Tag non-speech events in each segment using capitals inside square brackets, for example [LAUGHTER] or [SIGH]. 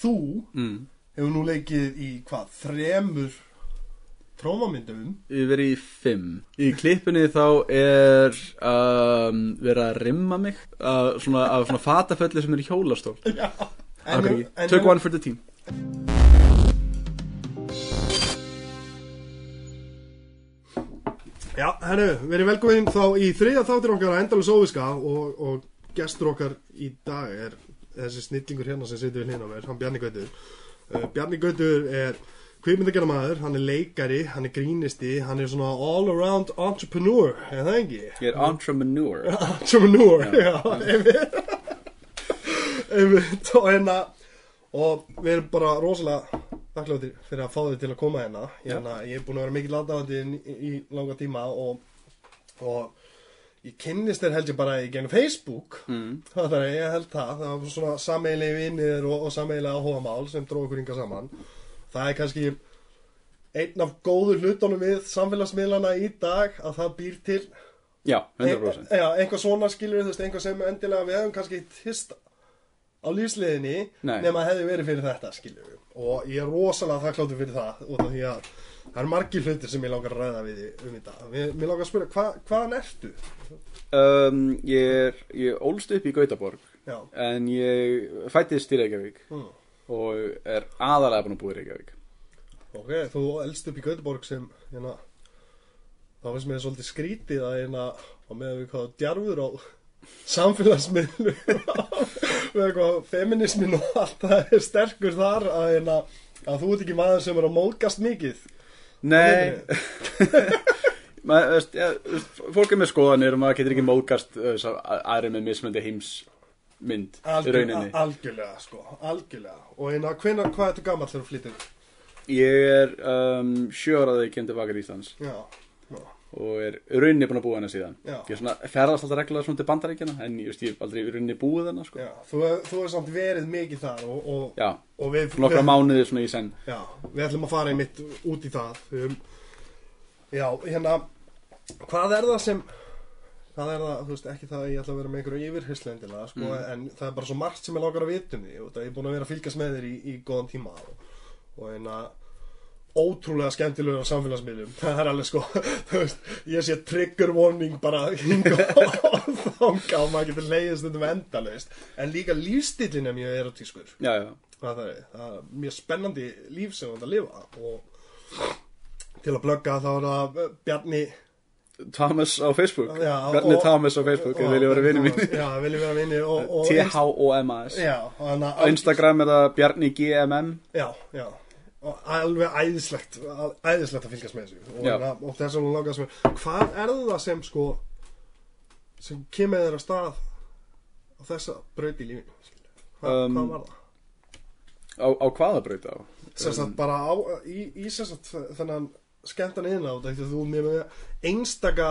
þú mm. hefur nú leikið í hvað, þremur trómamyndum Yfir í fimm Í klippinni þá er um, verið að rimma mig uh, svona, af svona fataföllu sem er í hjólastól Já Akkur ekki, Took one for the team Já, herru, verið velkomin þá í þriðja þáttir okkar að endalus óviska og, og gestur okkar í dag er þessi snillingur hérna sem situr við hlýna mér, hann Bjarni Gautur. Uh, Bjarni Gautur er kvikmyndagjara maður, hann er leikari, hann er grínisti, hann er svona all around entrepreneur, er það ekki? Ég er entrepreneur [LAUGHS] Entrepreneur, Já. já, einmitt. einmitt, og hérna, og við erum bara rosalega þakkláttir fyrir að fá þau til að koma hérna. Ég, Já. hérna, ég er búin að vera mikið aðdáandi í, í langa tíma og, og ég kynnist þér held ég bara í gennum Facebook. mm. Það er, ég held það, það var svona sameilegi vinnir og, og sameilega áhugamál sem dróð okkur yngar saman. Það er kannski einn af góður hlutunum við samfélagsmiðlana í dag að það býr til Já, 100% Eh, Já, einhvað svona skilur þú veist, einhvað sem endilega við hefum kannski hist á lífsliðinni Nei. nema hefði verið fyrir þetta skilur og ég er rosalega þakkláttur fyrir það út af því að það er margir hlutir sem ég langar að ræða við þig um þetta Mér, mér langar að spyrja, hva, hvaðan ertu? um, Ég er, ég ólst upp í Gautaborg Já, En ég fættist í Reykjavík mm. Og er aðalega búin að búa í Reykjavík ok, þú elst upp í Göteborg sem hérna, þá finnst mér svolítið skrítið að hérna, á meðan við hvað djarfur á samfélagsmiðlu [LAUGHS] með eitthvað feminismin og allt það er sterkur þar að, hérna, að þú ert ekki maður sem er að móðgast mikið Nei [LAUGHS] maður, veist, ja, veist, Fólk er með skoðanir og maður getur ekki móðgast uh, sá- a- aðrir með mismöndi heimsmynd í Algjör, rauninni algjörlega sko, algjörlega og hérna, hvenær, hvað ertu gamall þegar þú flyttir? Ég er um, sjö ára þegar ég kem tilbaka til Íslands Já, já, og er í rauninni búin að búa hana síðan Já. Ég er svona ferðast alltaf reglulega svona til bandaríkjana en ég, veist, ég hef aldrei í rauninni búið hana sko. já. Þú, þú er samt verið mikið þar og, og, Já, og við, nokkra við, mánuði svona í senn já, við ætlum að fara einmitt út í það um, Já, hérna, hvað er það sem hvað er það, þú veist, ekki það að ég ætla að vera með einhverju yfirhyslendina sko, en það er bara svo margt sem ég langar að vita um því og það er búin að vera að fylgjast með þér í, í góðan tíma og, og hérna ótrúlega skemmtilegur á samfélagsmiðlum [LAUGHS] það er alveg sko þú veist, ég sé trigger warning bara [LAUGHS] hinga og þanga og maður getur leiðið stundum endalaust en líka lífstillin er mjög erotískur Já, já, það er, það er mjög spennandi líf sem þú ert að lifa og til að blögga þá er það eh, Bjarni Thomas á Facebook Já, Bjarni og- Thomas á Facebook, þið vilja vera vinni mín Já, vilja vera vinni og, [LAUGHS] og T-H-O-M-A-S Já, og þannig Á að- Instagram er það Bjarni GMM Já, já og alveg æðislegt æðislegt að fylgjast með þessu og, Já. hérna, og þess að hún langast með hvað er það sem sko sem kemur þér á stað á þessa braut í lífinu skilur? Hva, Um, hvað var það? á, á hvaða braut á? Sess Um, að bara á, í, í sess að þennan skemmtan inn á þetta því að þú er mjög með einstaka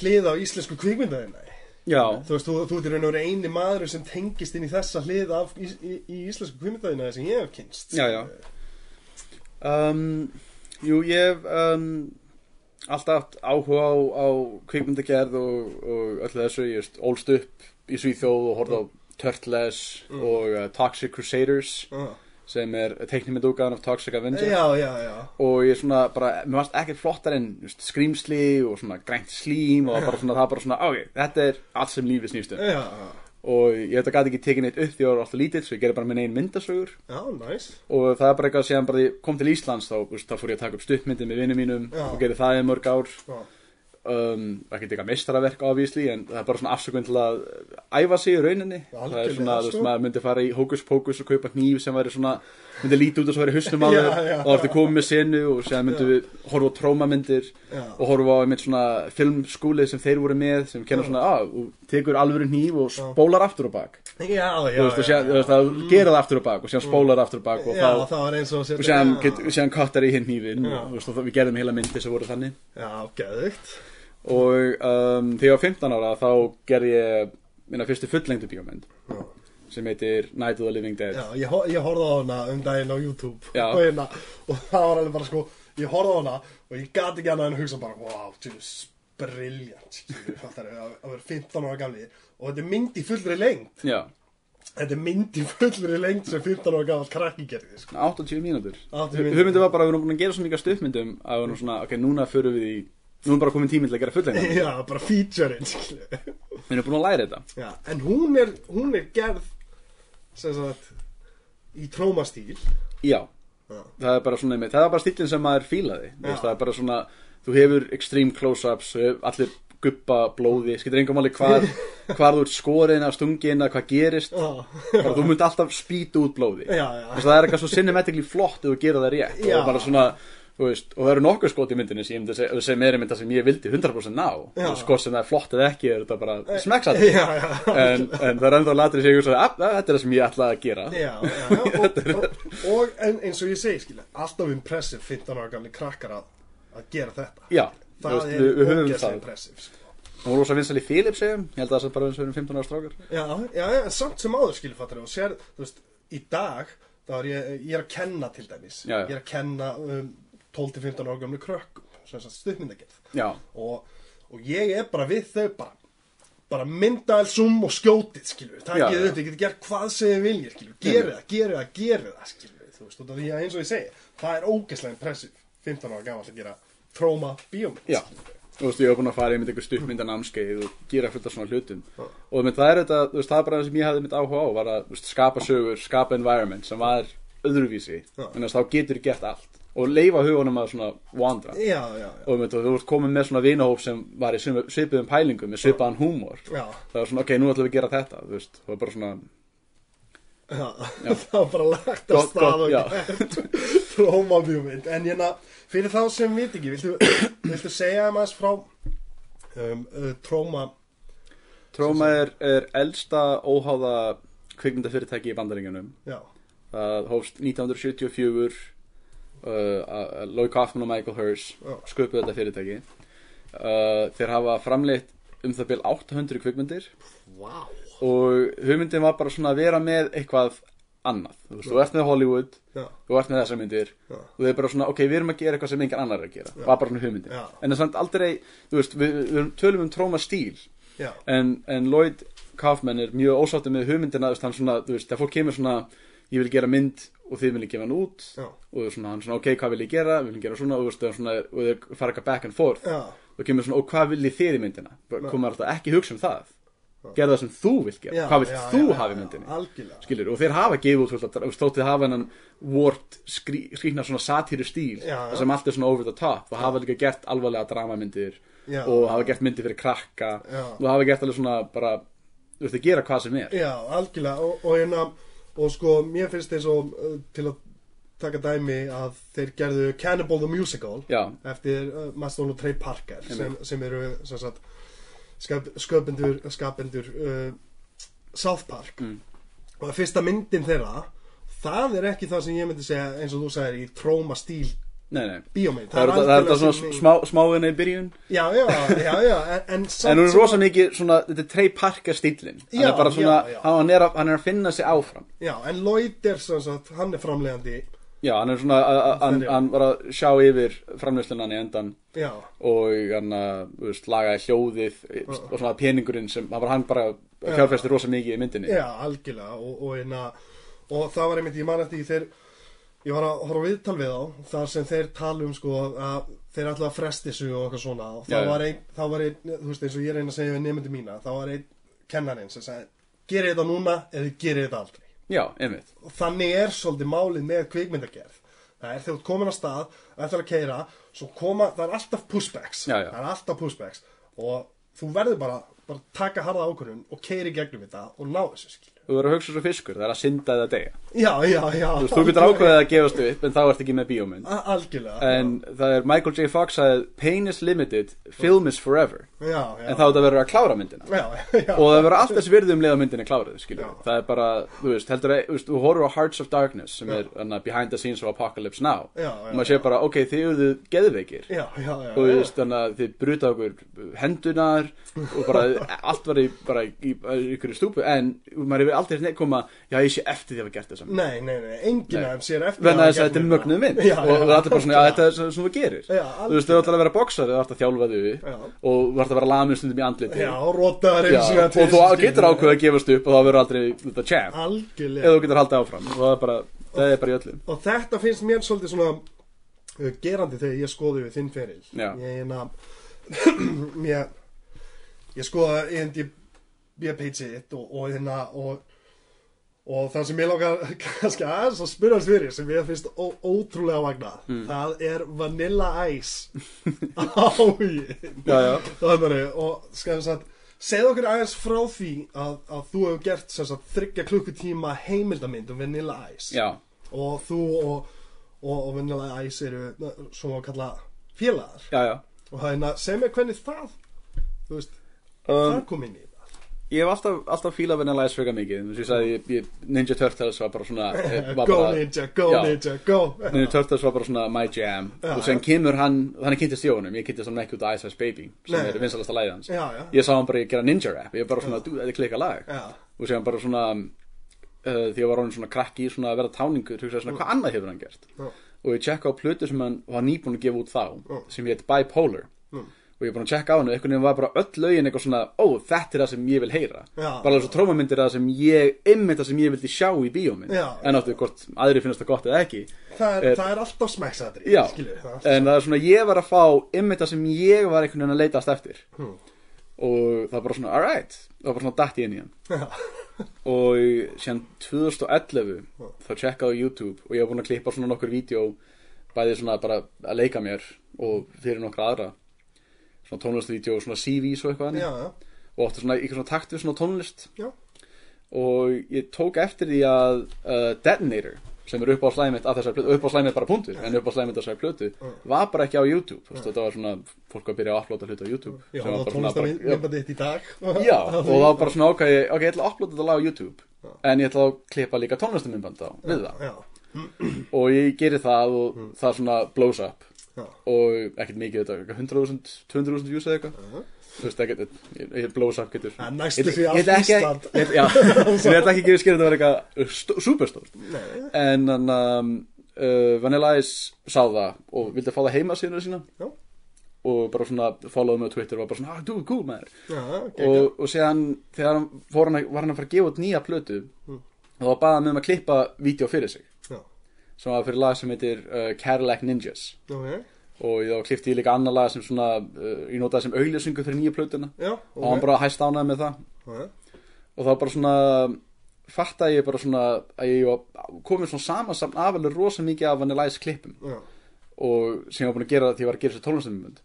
hlið á íslensku kvikmyndaðina Já, þú veist, þú, þú ert í raun og verið eini maður sem tengist inn í þessa hlið af, í, í, í íslensku kvikmyndaðina sem ég hef kynst Já, já. um, Jú, ég hef um, alltaf haft áhuga á, á kvikmyndagerð og, og öllu þessu, ég veist, ólst upp í Svíþjóð og horfði á Turtles og uh, Toxic Crusaders Ah. sem er teiknimyndúkaðan af Toxic Avenger Já, já, já og ég svona bara, mér varst ekkert flottar en you know, skrýmsli og svona grænt slím og bara svona, það bara svona, ok, þetta er allt sem lífið snýst um Já, já, og ég þetta gæti ekki tekið neitt upp því að ég var alltaf lítill svo ég gerði bara minn einn myndasögur já, næs og það er bara eitthvað síðan bara því ég kom til Íslands þá, þú veist, þá fór ég að taka upp stuttmyndi með vinnum mínum Já. og gerði það í mörg ár Já, um, ekki eitthvað meistaraverk obviously en það er bara svona afsökun til að æfa sig í rauninni það er Algjörlega, svona, þú veist, sko. maður myndi fara í hókus pókus og kaupa hníf sem væri svona myndi líti út og svo væri husnum á [LAUGHS] Já, þér já. og þá ertu komið með senu og síðan myndum við horfa á trómamyndir Já. og horfa á einmitt svona filmskúlið sem þeir voru með sem kenna svona, að, þú tekur alvöru hníf og spólar aftur á bak já, já, þú veist, já, Mm. og síðan, þú veist, það gera það aftur á bak og síðan spólar aftur á bak og já, þá, það var eins og að setja- og síðan, já. get, síðan kattar í hinn hnífin Já. og, þú veist, og þá- við gerðum heila myndi sem voru þannig Já, geðugt og um, þegar ég var 15 ára þá gerði ég minna fyrstu fullengdu bíómynd sem heitir Night of the Living Dead Já, ég, hor- ég horfði á hana um daginn á YouTube Já. og, hérna, og það var alveg bara sko Ég horfði á hana og ég gat ekki annað en hugsa bara Wow, Jesus, brilliant skilur, fattar, að, að vera 15 ára gamli Og þetta er mynd í fullri lengt Já. Þetta er mynd í fullri lengt sem 15 ára gafall krakki gerði sko. [LAUGHS] 80 mínútur 80 mínútur. hugmyndin var bara að við erum búin að gera svona líka stuttmyndum að við erum svona, ok, núna förum við í nú er bara komin tíminn til að gera fullegna [LAUGHS] Já, bara featureinn skilju. við erum búin að læra þetta Já, en hún er, hún er gerð sem sagt í trómastíl já, Já. það er bara svona einmitt, það er bara stílinn sem maður fílaði þú veist, Já. það er bara svona, þú hefur extreme close-ups, eh, allir guppa blóði, skilur engum alveg [LAUGHS] hvað hvað þú ert skorin að stungin að hvað gerist Já, bara þú mynd alltaf spýta út blóði já, já Þess að það er eitthvað svo cinematically flott ef þú gerir það rétt Já. og bara svona þú veist, og það eru nokkuð skot í myndinni sem, ég myndi seg- sem er mynda sem ég vildi 100% ná Já. Þú Eh, veist, hvort sem það er flott eða ekki er þetta bara smekksat en, [LAUGHS] Já, já, en það er ennþá latur í sig og svo, að, að, "Ah, þetta er það sem ég ætlaði að gera já, [LAUGHS] já, og, og, og en, eins og ég segi skilja, alltaf impressive 15 ára gamli krakkar að, að gera þetta Já, þú það veist, er við- við höfum ógeðslega það. impressive sko. hún var rosa vinsal í Philips ég held að það er bara eins og við erum 15 ára strákar já, já, já, en samt sem áður skilja fattar og sér, þú veist, í dag þá er ég, ég er að kenna til dæmis Já, já. ég er að kenna um, 12-15 ára gamli krökkum sem sagt stuðmyndagerð Já, og, og ég er bara við þau bara bara mynda alls um og skjótið skilju, Já, takið já. þetta, ég geti gert hvað sem þið viljið skilju, gerið það, gerið það, gerið það skilju, þú veist, út af því að eins og ég segi það er ógeðslega impressiv, 15 ára gamall að gera tróma bíómynd já Þú veist, ég var búin að fara, ég myndi eitthvað stuttmyndan námskeið og gera fullt af svona hlutum og mynd, það er þetta, þú veist, það er bara það sem ég hafði mitt áhuga á var að þú veist, skapa sögur, skapa environment sem var öðruvísi, Já. en þá getur þú gert allt og leifa hugunum að svona vandra já, já, já, og mynd, þú vart komin með svona vinahóp sem var í svipu- svipuðum pælingum með svipaðan húmor Já. það var svona, ok, nú ætlum við að gera þetta þú veist, það var bara svona já. [LAUGHS] það var bara lagt að Gott, stað gott, [LAUGHS] já. og tróma bíómynd en hérna, fyrir þá sem viti ekki viltu, [COUGHS] viltu segja um aðeins frá um, uh, tróma Tróma er, er elsta óháða kvikmyndafyrirtæki í bandaringunum já, það hófst 1974 uh, að- að Lloyd Kaufman og Michael Hirsch Já. sköpuðu þetta fyrirtæki uh, þeir hafa framleitt um það byrjum 800 kvikmyndir wow og hugmyndin var bara svona að vera með eitthvað annað, þú veist, þú ert með Hollywood já, þú ert með þessar myndir Já. og þau er bara svona, ok, við erum að gera eitthvað sem engan annar er að gera, var bara svona hugmyndin Já. en það er samt aldrei, þú veist, við, við erum tölum um tróma stíl já, en, en Lloyd Kaufman er mjög ósáttið með hugmyndina þú veist, hann svona, þú veist, þegar fólk kemur svona ég vil gera mynd og þið vil ég gefa hann út Já. og svona, hann svona, ok, hvað vil ég gera við viljum gera svona, og þú veist, það er svona, og þau fara eitthvað back and forth Já. og kemur svona, og hvað viljið þið í myndina komur alltaf ekki að hugsa um það gera það sem þú vilt gera, Já, hvað vilt já, þú já, hafa í já, myndinni algjörlega. skilur, og þeir hafa gefið út svolítið, þú veist, þóttið hafa hennan vort skrí, skrýna svona satíru stíl Já, já. þar sem allt er svona over the top og hafa líka gert alvarlega dramamyndir Já. og hafa gert myndir fyrir krakka Já. og hafa gert alveg svona bara þú veist að gera hvað sem er Já, algjörlega og, og hérna og sko, mér finnst þeir svo uh, til að taka dæmi að þeir gerðu Cannibal the Musical Já. eftir uh, Maston og Trey Parker sem, sem eru sem sagt, skap, sköpendur, skapendur uh, South Park mm. og að fyrsta myndin þeirra það er ekki það sem ég myndi segja eins og þú sagðir í tróma stíl nei, nei. bíómynd það er það er þetta algjörlega sem svona ég- smá, smáinni í byrjun Já, já, já, já, en, en, samt en hún er sem- rosa mikið svona, þetta er Trey Parker stílin hann Já, er bara svona, já, já. Hann, er að, hann er að finna sig áfram Já, en Lloyd er sem sagt, hann er framlegandi já, hann er svona, að- að- hann, Þannig. hann var að sjá yfir framlöslunan í endan Já, og hann að, þú veist, lagaði hljóðið og svona peningurinn sem hann var hann bara að fjárfesti rosa mikið í myndinni Já, algjörlega og, og, einna, og það var einmitt, ég man eftir því þeir ég var að horfa á viðtal við á þar sem þeir tala um sko að þeir ætla að fresti þessu og eitthvað svona og þá Já, já. var einn, þá var einn, þú veist eins og ég reyna að segja við nefndi mína, þá var einn kennarinn sem sagði, gerið þetta núna eða gerið þetta aldrei Já, einmitt og þannig er svolítið málið með kvikmyndagerð það er þegar þú ert komin á stað ætlar að keira, svo koma, það er alltaf pushbacks Já, já. það er alltaf pushbacks og þú verður bara, bara taka harða ákvörðun og keiri gegnum þetta og ná þessu skilju Þú verður að hugsa svo fiskur, það er að synda eða deyja já, já, já Þú veist, þú getur ákveðið að gefast upp en þá ert ekki með bíómynd A- algjörlega En það er Michael J. Fox sagði Pain is limited, film is forever já, já, En þá þetta verður að klára myndina já, já, Og það verður allt þess virði um leiða myndin er kláruð skilur. Já. Það er bara, þú veist, heldur að þú, veist, þú horfur á Hearts of Darkness sem er hana, behind the scenes of Apocalypse Now Já, já, og maður sé bara, ok, þið eruðu geðveikir já, já, já, og þú veist þannig að þið bruta okkur hendunar og bara allt var í bara í, í, í ykkur stúpu en maður hefur alveg aldrei neitt koma já ég sé eftir því að hafa gert þess að Nei, nei, nei, enginn Nei. af þeim sér eftir hafa Þannig að þess að gert þetta er neitt mögnuð mynd hérna. Já, og já, það er bara svona, já, algjörlega. þetta er svona sem þú gerir Já, Þú veist, þau ætla að vera boksari, þau ætla að þjálfa þau upp Já. og þú ætla að vera lamin stundum í andliti Já, rótaðar Já, eins og og þú getur ákveð að gefast upp og það verður aldrei þetta Ah, champ Algjörlega eða þú getur haldið áfram og það er bara, það er bara í öllum og þetta finnst mér svolítið svona uh, gerandi þegar ég skoði við þinn feril Já. ég er nafn [CLEARS THROAT] mér ég skoða IMDb page-ið þitt og, og, hérna, og, og það sem ég langar [LAUGHS] kannski aðeins að spyrjast fyrir sem ég finnst ó, ótrúlega vagna Hmm. það er Vanilla [LAUGHS] Ice áhugin Já, já. Þannig, og skal við sagt segð okkur aðeins frá því að, að þú hefur gert sem sagt, þryggja klukkutíma heimildamind um Vanilla Ice Já, og þú og, og, og vinnilega æs eru na, svona að kalla félagar já, já og það er na- sem er hvernig það þú veist, það um, kom inn í það Ég hef alltaf, alltaf fílað að vinna læsfrega mikið eins og ég sagði, ég, ég, Ninja Turtles var bara [LAUGHS] svona eh, var go bara- ninja, go Já. Mm. ninja, go Ninja Turtles var bara svona my jam Já, og sem já. kemur hann, þannig kynntist ég honum ég kynntist hann ekki út af Ice Ice Baby sem Nei. er vinsalasta læðið hans Já, já. ég sá hann bara gera ninja rap, ég var bara svona, "Dude, þetta er klika lag Já. og sem bara svona uh, því ég var hann svona krakki, svona að vera táningur hugsaði svona, hvað annað hefur hann gert Já. og ég tjekka á plötu sem hann var nýbúin að gefa út þá sem heit Bipolar og ég er búin að tjekka á hann og einhvern veginn var bara öll lögin eitthvað svona, ó, þetta er það sem ég vil heyra Já. bara eins og trómamyndir það sem ég einmitt það sem ég vildi sjá í bíómynd Já. en áttu hvort aðri finnast það gott eða ekki það, er, Eh, það er alltaf smæksatri Já, Eh, skilur, það er alltaf- en það er svona ég var að fá ymmið það sem ég var einhvern veginn að leitast eftir Hmm. og það var bara svona, alright það var bara svona datt í inn í hann Já. og síðan 2011 þá tjekkaði ég á YouTube og ég var búin að klippa svona nokkur vídeo bæði svona bara að leika mér og fyrir nokkra aðra svona tónlistvídeó, svona CVs og eitthvað já, þannig. já, og átti svona ykkur svona takt við svona tónlist já, og ég tók eftir því að uh, Detonator sem er upp á slæmið af þessari plötu, upp á slæmið bara punktur en upp á slæmið þessari plötu var bara ekki á YouTube þú veist, þetta var svona, fólk var að byrja að upplota hluti á YouTube já sem var og bara svona bara- já. tónlistarmyndið þitt í dag [LAUGHS] Já, og þá bara svona ákvæði, ok, ég ætla að upplota þetta lag á YouTube en ég ætla að klippa líka tónlistaminnband á við það já, Mm. og ég geri það og það svona blows up já, og ekkert mikið þetta, 100.000, 200.000 views eða eitthvað þú veist ekkert, ég, ég blows up getur Það er næstum Ég- því ég allt ætla ekki- Ísland. ég ætla- [LAUGHS] Já, ég ætla ekki að gera skil að þetta var eitthvað stó- superstórt Nei. en hann um, uh, Vanilla Ice sá það og vildi fá það heima síðan sína já, og bara svona followði mig á Twitter og var bara svona, ah, dude, cool maður já, okay, og, og, og síðan þegar hann fór hann að, var hann að fara að gefa út nýja plötu og þá baða hann mig um að klippa vídeo fyrir sig já, sem var fyrir lag sem heitir uh, Cadillac Ninjas ok, og þá klippti ég líka annað lag sem svona uh, ég notaði sem auglýsingu fyrir nýja plötuna já, og hann bara hæst ánaði með það já, og þá bara svona fattaði ég bara svona að ég var komið svona samansamn af alveg rosa mikið af Vanilla Ice klippum já, og sem ég var búin að gera því ég var að gera þessi tónlistamund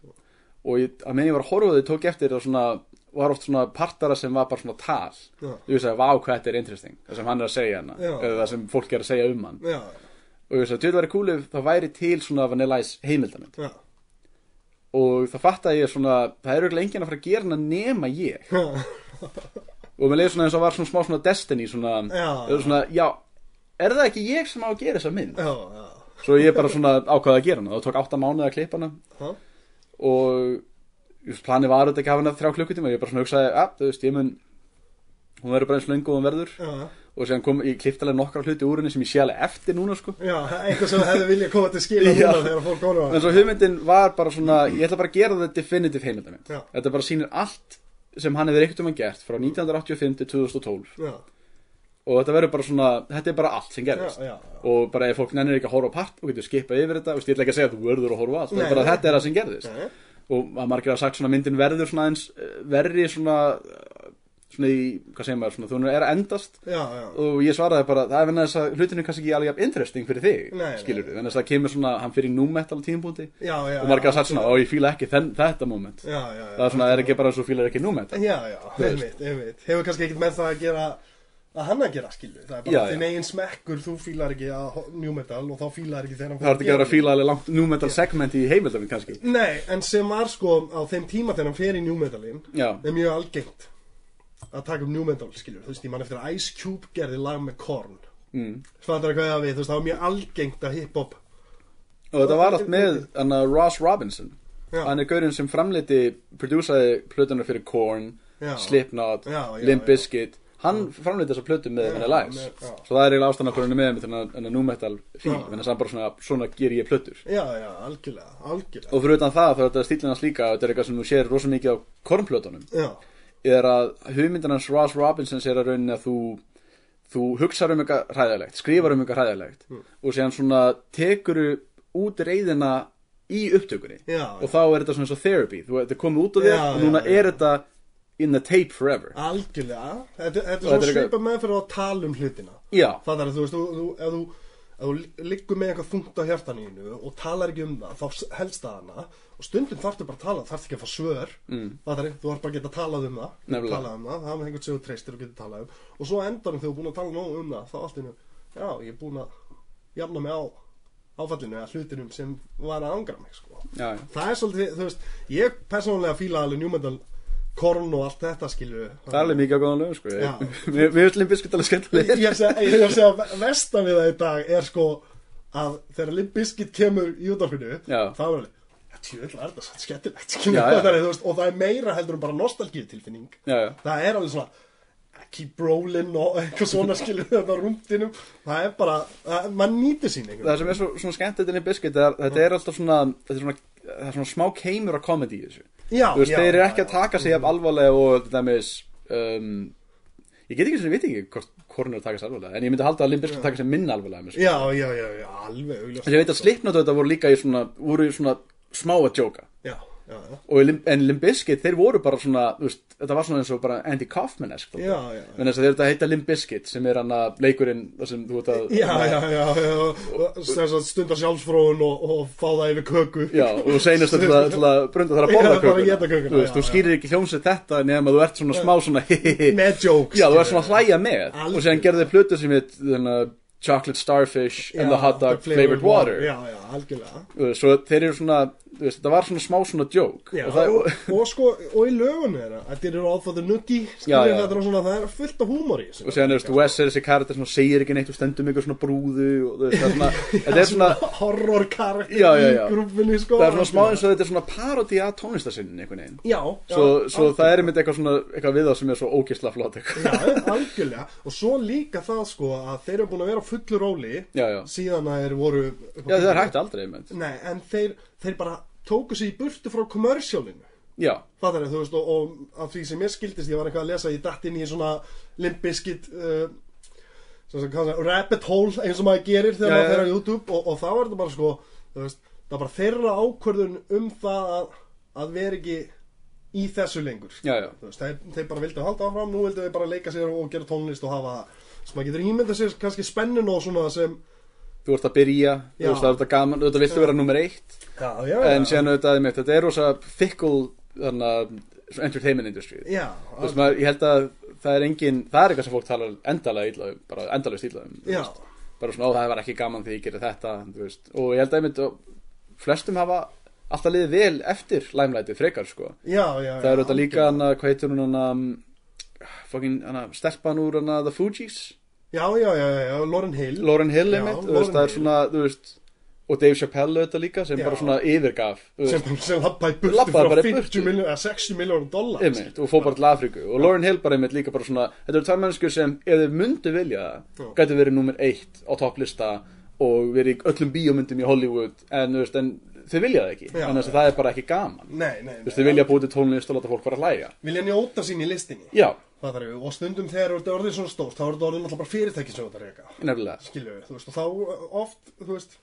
og ég, að meðan ég var að horfa á þau tók ég eftir að svona var oft svona partara sem var bara svona tal Já. ég sagði, vá hvað þetta er interesting það sem hann er að segja hana, Já. eða það sem fólk er að segja um hann já, og ég sagði, þetta væri cool ef það væri til svona Vanilla Ice heimildamind já, [LAUGHS] og það fattaði ég svona, það er auðvitað enginn að fara að gera hana nema ég já, og mér leiði svona eins og var svona smá svona Destiny svona, Já. eða svona, já er það ekki ég sem á að gera þessa mynd já, já, svo ég bara svona ákvaði að gera hana það tók átta mánuði að klippa hana já, og þú veist, planið var auðvitað ekki að hafa hana þrjá klukkutíma ég bara svona hugsaði, að þú veist, ég mun hún verður bara eins löngu og hún verður já. og síðan kom, ég klippti alveg nokkra hluti úr henni sem ég sé alveg eftir núna sko Já, eitthvað sem hefði viljað koma til skila Já. núna þegar fólk horfa en svo hugmyndin var bara svona, ég ætla bara að gera þetta definitive heimildamind Já. þetta bara sýnir allt sem hann hefur ekkert um gert frá 1985 til 2012 Já, og þetta verður bara svona, þetta er bara allt sem já, gerist já og bara ef fólk nennir ekki að horfa á part og getur skipað yfir þetta, veist, ég ætla ekki að segja að þú verður að horfa á allt, það Nei. er bara að þetta er það sem gerðist Nei, og að margir hafa sagt svona myndin verður svona eins verri svona eh, svona í, hvað segir maður, svona þú er að endast Já, já, og ég svaraði bara, það er vegna þess að hlutinu kannski ekki alveg jafn interesting fyrir þig, Nei, nei, skilur þú, þannig að það kemur svona hann fyrir númetal tímpúndi já, já og margir hafa sagt svona, ó ég fíla ekki þenn, þetta moment Já, já, það já er svona, er ekki bara eins og þú fílar ekki númetal Já, já, einmitt, einmitt Hefur kannski ekkert með það að gera að hann að gera skilu Það er bara Já, þinn já. eigin smekkur, þú fílar ekki að ho- New Metal og þá fílar ekki þegar hann það er ekki að vera að fíla alveg langt númetal segment í heimildafinn kannski Nei, en sem var sko á þeim tíma þegar hann fer í New Metalin Já. er mjög algengt að taka um New Metal skilur, þú veist, ég man eftir að Ice Cube gerði lag með Korn mm. Fattar hvað ég á við, þú veist, það var mjög algengt að hip-hop og þetta var allt með hann að Ross Robinson Já. hann er gaurinn sem framleiti prodúsaði plötunar fyrir Korn, Já. Slipknot Já, já, Limp já. Bizkit hann framleiti þessa plötu með Já, Vanilla Ice með- já. svo það er eiginlega ástæðan af hvernig hann er með þannig að nú metal fíl Já. þannig að hann bara svona, svona ger ég plötur já, já, algjörlega, algjörlega og fyrir utan það þá er þetta stílinn hans líka þetta er eitthvað sem þú sér rosa mikið á kornplötunum já, er að hugmyndan hans Ross Robinsons er að rauninni að þú þú hugsar um eitthvað hræðilegt, skrifar um eitthvað hræðilegt Mm. og séðan svona tekur út reyðina í upptökunni já, og þá er þetta svona eins og therapy þú þetta er komið út af þér Já, og núna já, Ah. já. er þetta in the tape forever algjörlega þetta, þetta er þetta er svona eitthvað- svipað með fyrir að tala um hlutina já, Það er að þú veist, þú, þú, ef þú, ef þú liggur með eitthvað þungt á hjartanínu og talar ekki um það, þá helst það hana og stundum þarftu bara að tala, þarftu ekki að fá svör, mm. það er, þú þarf bara að geta talað um það, Nefnilega. talað um það, það er með einhvern sem þú treystir og getur talað um og svo á endanum þegar þú er búin að tala nóg um það, þá allt innu, já, ég er búin að jafna mig á áfallinu eða hlutinum sem var að angra mig, sko. já, já. Það er svolítið, þú veist, ég persónulega fíla alveg njúmendal korn og allt þetta, skilju. það er alveg mikið á góðan lögum sko Já. Ég- [LAUGHS] mér mér finnst limbiskut alveg skemmtileg ég hef seg- ég hef segjað að vestan við það í dag er sko að þegar Limp Bizkit kemur í útdarfinu Já. þá er alveg tjóðlega er þetta satt skemmtilegt [LAUGHS] skilur Já, við, já. það er, þú veist, og það er meira heldur en bara nostalgíutilfinning Já, já. það er alveg svona keep rolling og eitthvað svona skilur við þetta á rúmtinum það er bara, það- maður nýtir sín einhvern það sem er svo, svona skemmt þetta er biskuit er, þetta er alltaf svona, þetta er svona, það er svona smá keimur að komedi í þessu Já, Þú veist, já, þeir eru já, ekki að já. taka sig af alvarlega og til dæmis um, ég get ekki sem ég veit ekki hvort hvorn er að taka sig alvarlega en ég myndi halda að Limp Bizkit taka sig minna alvarlega með þessu. já, já, já, já, alveg augljóst en ég veit að Slipknot þetta voru líka í svona voru í svona smá að djóka já, já, já, og í Lim- en Limbiskit þeir voru bara svona þú veist, þetta var svona eins og bara Andy Kaufman-esk Já, já, já. en þess að þeir þetta heita Limbiskit sem er hann að leikurinn þar sem þú veit að já, já, já, já, og sem sagt stundar sjálfsfróun og, og fá það yfir köku Já, og seinast til að, til að brunda þar [LAUGHS] að Já, borða bara éta kökuna, Þú veist, já, þú skýrir ekki hljómsið þetta nema þú ert svona smá svona [LAUGHS] Með jokes, Já, þú skilur. ert svona að hlæja með Algjörlega. og séðan gerði plötu sem heit þarna, Chocolate Starfish and the Hot Dog Flavored Water já, já, algjörlega Þú veist, Svo þeir eru svona, þú veist, þetta var svona smá svona joke Já, og, og það, og, sko, og í lögunum þeirra Þetta eru all for the nuggy Já, skilur, já. þetta er svona, Það er fullt af húmóri í þessu. og séðan, þú veist, Wes er þessi karakter sem segir ekki neitt og stendum ykkur svona brúðu og þú veist, það er [LAUGHS] svona, þetta er svona Horror karakter Já, já, já. í grúfinni sko, það er svona smá eins og þetta er svona parodi að tónlistasinnin einhvern veginn Já, já, Svo, svo algjörlega. það er einmitt eitthvað svona, eitthvað við það sem er svo ógisla flott eitthvað Já, algjörlega Og svo líka það sko að þeir eru búin að vera á fullu róli Já, já. Síðan að þeir voru Já, það er hægt aldrei, einmitt Nei, en þeir, þeir bara tóku sig í burtu frá kommersjólinu Já, Það er, þú veist, og, og af því sem ég skildist, ég var eitthvað að lesa, ég datt inn í svona limbiskit, uh, sem sem kallar, rabbit hole, eins og maður gerir þegar Já, maður já, fer á já. YouTube og, og þá er þetta bara sko, þú veist, það er bara þeirra ákvörðun um það að, að vera ekki í þessu lengur. Já, já. Þú veist, þeir, þeir bara vildu halda áfram, nú vildu þeir bara leika sér og gera tónlist og hafa það. Svo maður getur ímyndað sér kannski spennun og svona sem, þú ert að byrja, Já. þú veist það er þetta gaman, auðvitað viltu vera nummer eitt já, já, en síðan auðvitað er mitt, þetta er rosa fickle þarna, svona entertainment industry já, þú veist maður, ég held að það er engin, það er eitthvað sem fólk talar endalega illa um, bara endalaust illa um þú já, veist. bara svona, ó það var ekki gaman því ég gerði þetta þú veist, og ég held að mitt flestum hafa alltaf liðið vel eftir læmlætið frekar sko já, já. það er já, auðvitað líka hana, hvað heitur hún hana fucking, hana, stelpan úr hana The Fugees Já, já, já, já, já, Lauren Hill. Lauren Hill Já, einmitt, þú Lauryn veist, það er Hill. svona, þú veist og Dave Chappelle auðvitað líka sem Já. bara svona yfirgaf þú veist, sem, sem lappaði burtu Labbaði bara frá í burtu. 50 miljón eða 60 miljónum dollar einmitt, og fór bara til Afríku og Lauren Hill bara einmitt líka bara svona þetta eru tvær mennskur sem ef þau myndu vilja Já. það gæti verið nummer eitt á topplista og verið í öllum bíómyndum í Hollywood en, þú veist, en þau vilja það ekki Já, þannig að það er bara ekki gaman nei, nei, Þú nei veist, þau vilja búið til tónlist og láta fólk bara hlæja vilja njóta sín í listinni já, Það þarf ég, og stundum þegar þetta orðið svona stórt þá er þetta orðið náttúrulega bara fyrirtæki sem þetta reyka nefnilega skilju við, þú veist, og þá oft þú veist,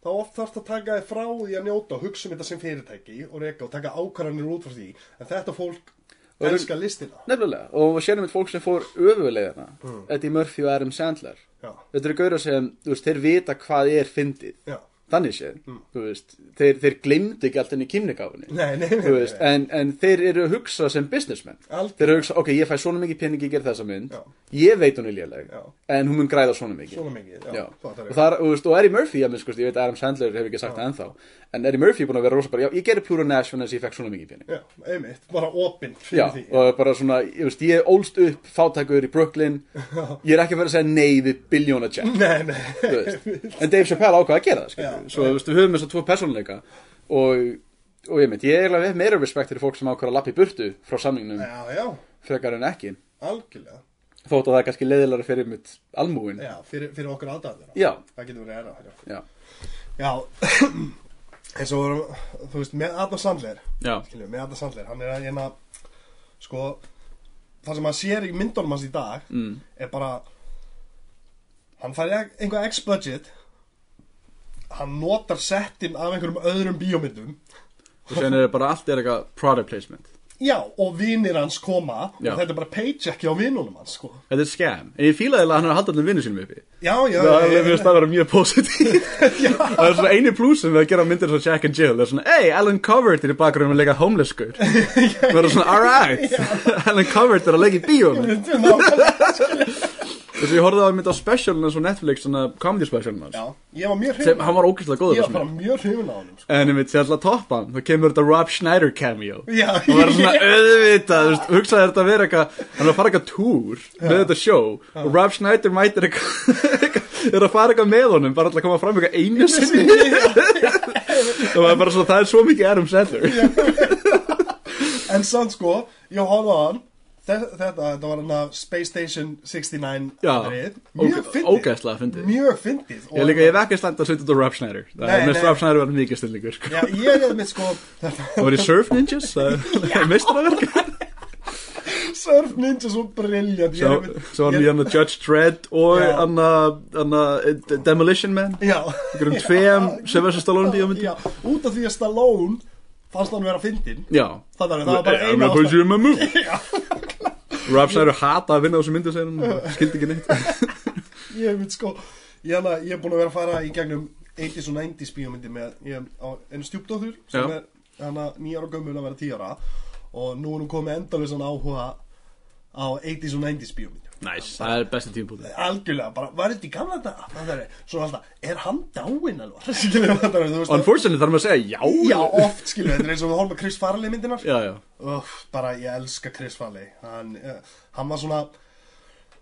þá oft þarf það að taka þið frá því að njóta og hugsa um þetta sem fyrirtæki og reyka og taka ákvarðanir út frá því en þetta fólk Og eru- elskar listina nefnilega, og sérum við fólk sem fór öfulegina, mm. Eddie Murphy og Adam Sandler já, þetta eru gauðra sem, þú veist, þeir vita hvað er fyndið já, þannig séð, þú veist þeir, þeir glemdu ekki allt henni kýmningafinni Mm. Nei, nei, nei, þú veist, nei. en, en þeir eru að hugsa sem businessmen, Algjörlega. þeir eru að hugsa ok, ég fæ svona mikið peningi að gera þessa mynd Já. ég veit hún er léleg, Já. en hún mun græða svona mikið svona mikið já, Já. það þarf og ég. það er, þú veist, og Eddie Murphy, ég, sko, ég veit að Adam Sandler hefur ekki sagt það ennþá en Eddie Murphy er búin að vera rosa bara, já, ég gerir Pluto Nash fyrir þess að ég fekk svona mikið pening já, einmitt, bara opinn Já, fyrir því og bara svona, ég veist, ég ólst upp fátækur í Brooklyn, ég er ekki að vera að segja nei við biljóna check nei, nei, [LAUGHS] Þú veist. en Dave Chappelle ákvað að gera það skilur Já. við. svo þú veist, við höfum þess að tvo persónuleika og, og ég meint, ég er eiginlega hef meira respekt fyrir fólk sem ákvað að lappa í burtu frá samningnum já, já frekar en ekki Algjörlega þótt að það er kannski leiðilega fyrir mitt almúin Já, fyrir, fyrir okkur aðdæðina já, Það getur verið erða fyrir okkur já, Já, [CLEARS THROAT] eins og vorum, þú veist, með Adam Sandler já, Skiljum, með Adam Sandler, hann er að hérna Sko, það sem maður sér í myndunum hans í dag mm, Er bara Hann fær ek- einhver X-budget Hann notar settin af einhverjum öðrum bíómyndum og sen er bara allt er eitthvað product placement Já, og vinir hans koma Já. Og þetta er bara paycheck hjá vinunum hans, sko þetta er scam, en ég fílaði eiginlega að hann er að halda allir vinnu sínum uppi Já, já, það já, er mjög staðar mjög [LAUGHS] positív það er svona eini plúsin við að gera myndir svo Jack and Jill það er svona, hey, Alan Covert er í bakgrunum að leika homeless [LAUGHS] gaur það er svona, alright [LAUGHS] Alan Covert er að leika í bíónu já Nákvæmlega. þess að ég horfði á að mynda á specialin hans á Netflix, svona comedy specialin hans [LAUGHS] Já, ég var mjög sem hrifun hann var ógeðslega góður Ég þessum var bara mjög hrifun á honum, sko en ég mitt sem alltaf að toppa hann þá kemur þetta Rob Schneider cameo Já, og var [LAUGHS] svona auðvitað þú veist, hugsaði þetta að vera eitthvað hann er að fara eitthvað túr með þetta sjó og Rob Schneider mætir eitthvað er að fara eitthvað með honum bara alltaf að koma fram eitthvað einu sinni það var bara svona það er svo mikið Adam Sandler En samt sko, ég horfði á hann Þe- Þetta, þetta var hann af Space Station 69 Já, atrið. Mjög óge- fyndið ógeðslega fyndið. Mjög fyndið ég líka ég vekkist langt að setja þetta á Rob Schneider það Nei, er mest nei. Rob Schneider var mikið stillingur sko. Já, ég er með sko þetta- það var í Surf Ninjas [LAUGHS] það er [LAUGHS] meistaraverk Surf Ninja svo briljant svo svo var hann í hann að Judge Dredd og Já. hann að- hann að Demolition Man Já ykkur um tveim Sylvester Stallone Já, bíómyndum út af því að Stallone fannst hann vera fyndin já Það var, það var bara I'm eina gonna put you in [LAUGHS] my mouth. Rob Schneider hata að vinna á þessu myndu [LAUGHS] segir hann skildi ekki neitt Ég veit sko Ég hana- ég er búin að vera að fara í gegnum 80s og 90s bíómyndi með ég, á, en stjúpdóttur sem Já. er hana nýjar og gömul að vera 10 ára og nú er hún komið endalösan áhuga á 80s og 90s bíómyndi næs, það er besti tímpúti algjörlega, bara, var þetta í gamla þetta? Það er svona alltaf, er hann dáinn alveg? [LAUGHS] Skiljum við þetta, þú veist unfortunately þarf maður að segja já Já, oft skiljum við, þetta er eins og við horfum að Chris Farley myndinar já, já, Öff, bara ég elska Chris Farley hann, uh, hann var svona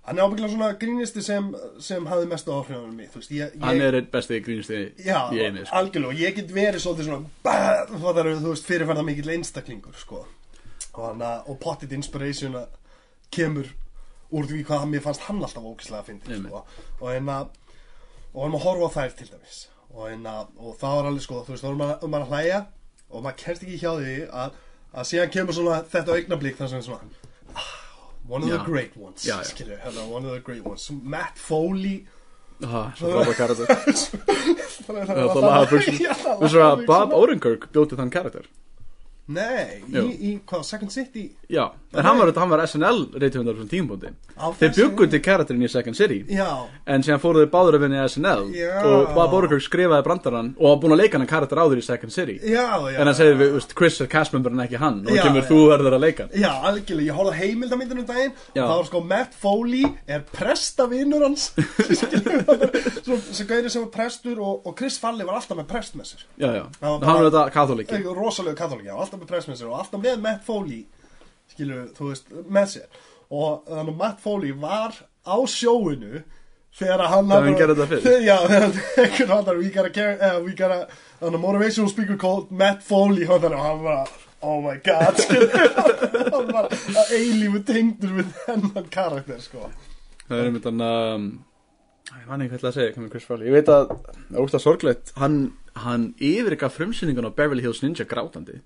hann er ábygglega svona grínisti sem sem hafði mest áhrifan mig þú veist, ég, ég, hann er eitt besti grínsti já, í einu sko. algjörlega, og ég get verið svolítið svona bæð, fattar, þú veist, fyrirferða mikill einstaklingur sko. og, hann, að- og potted inspiration að kemur úr því hvað mér fannst hann alltaf ókislega að fyndi Einmitt. sko. og en að og hann að horfa á þær til dæmis og, en að, og það var alveg sko, þú veist, þá var maður, maður að hlæja og maður kerst ekki hjá því að, að síðan kemur svona þetta augnablík þar sem er svona ah, one of Já. the great ones Já, já. skilur, hérna, one of the great ones Matt Foley Ah, svo frábæð [LAUGHS] karakter það Já, það laga buxum [LAUGHS] Já, það Þú svo að lagaði Bob buxurnar. Odenkirk bjóti þann karakter Nei, í, Jú. í hvað, Second City Já, en hann var, hann var SNL reytihundar frá tímpúti Á Þeir þessu- bjuggu til karakterin í Second City Ah. Já, En síðan fóru þeir báður að vinna í SNL Já. Og Bob Odenkirk skrifaði brandarann Og var búin að leika hann karakter áður í Second City já, já En hann segir við, veist, Chris er castmember en ekki hann Og Já, kemur já. þú verður að leika hann. Já, algjörlega, ég horfði á heimildamindin um daginn Já. og þá var sko Matt Foley er prestavinur [LAUGHS] hans svo, svo gæri sem var prestur og, og Chris Farley var alltaf með prestmessur Já, já, Já, bara- hann er þetta katholiki rosalega katholik, já, alltaf með prestmessur og alltaf með Matt Foley skilur, þú veist, með sér og þannig að Matt Foley var á sjóinu þegar að hann Þegar hann gerði þetta fyrr. [LAUGHS] Já, þegar hann- einhvern hann þar, we gotta care uh, we gotta, on a motivational speaker called Matt Foley, hann þar, og hann bara oh my god, [LAUGHS] skilur hann bara að eilífu tengdur við þennan karakter, sko Það er einmitt hann um, Ég man ekki hvað ég ætla að segja, komið Chris Farley Ég veit að, það er úrst að sorglegt Hann, hann yfirga frumsýningun á Beverly Hills Ninja grátandi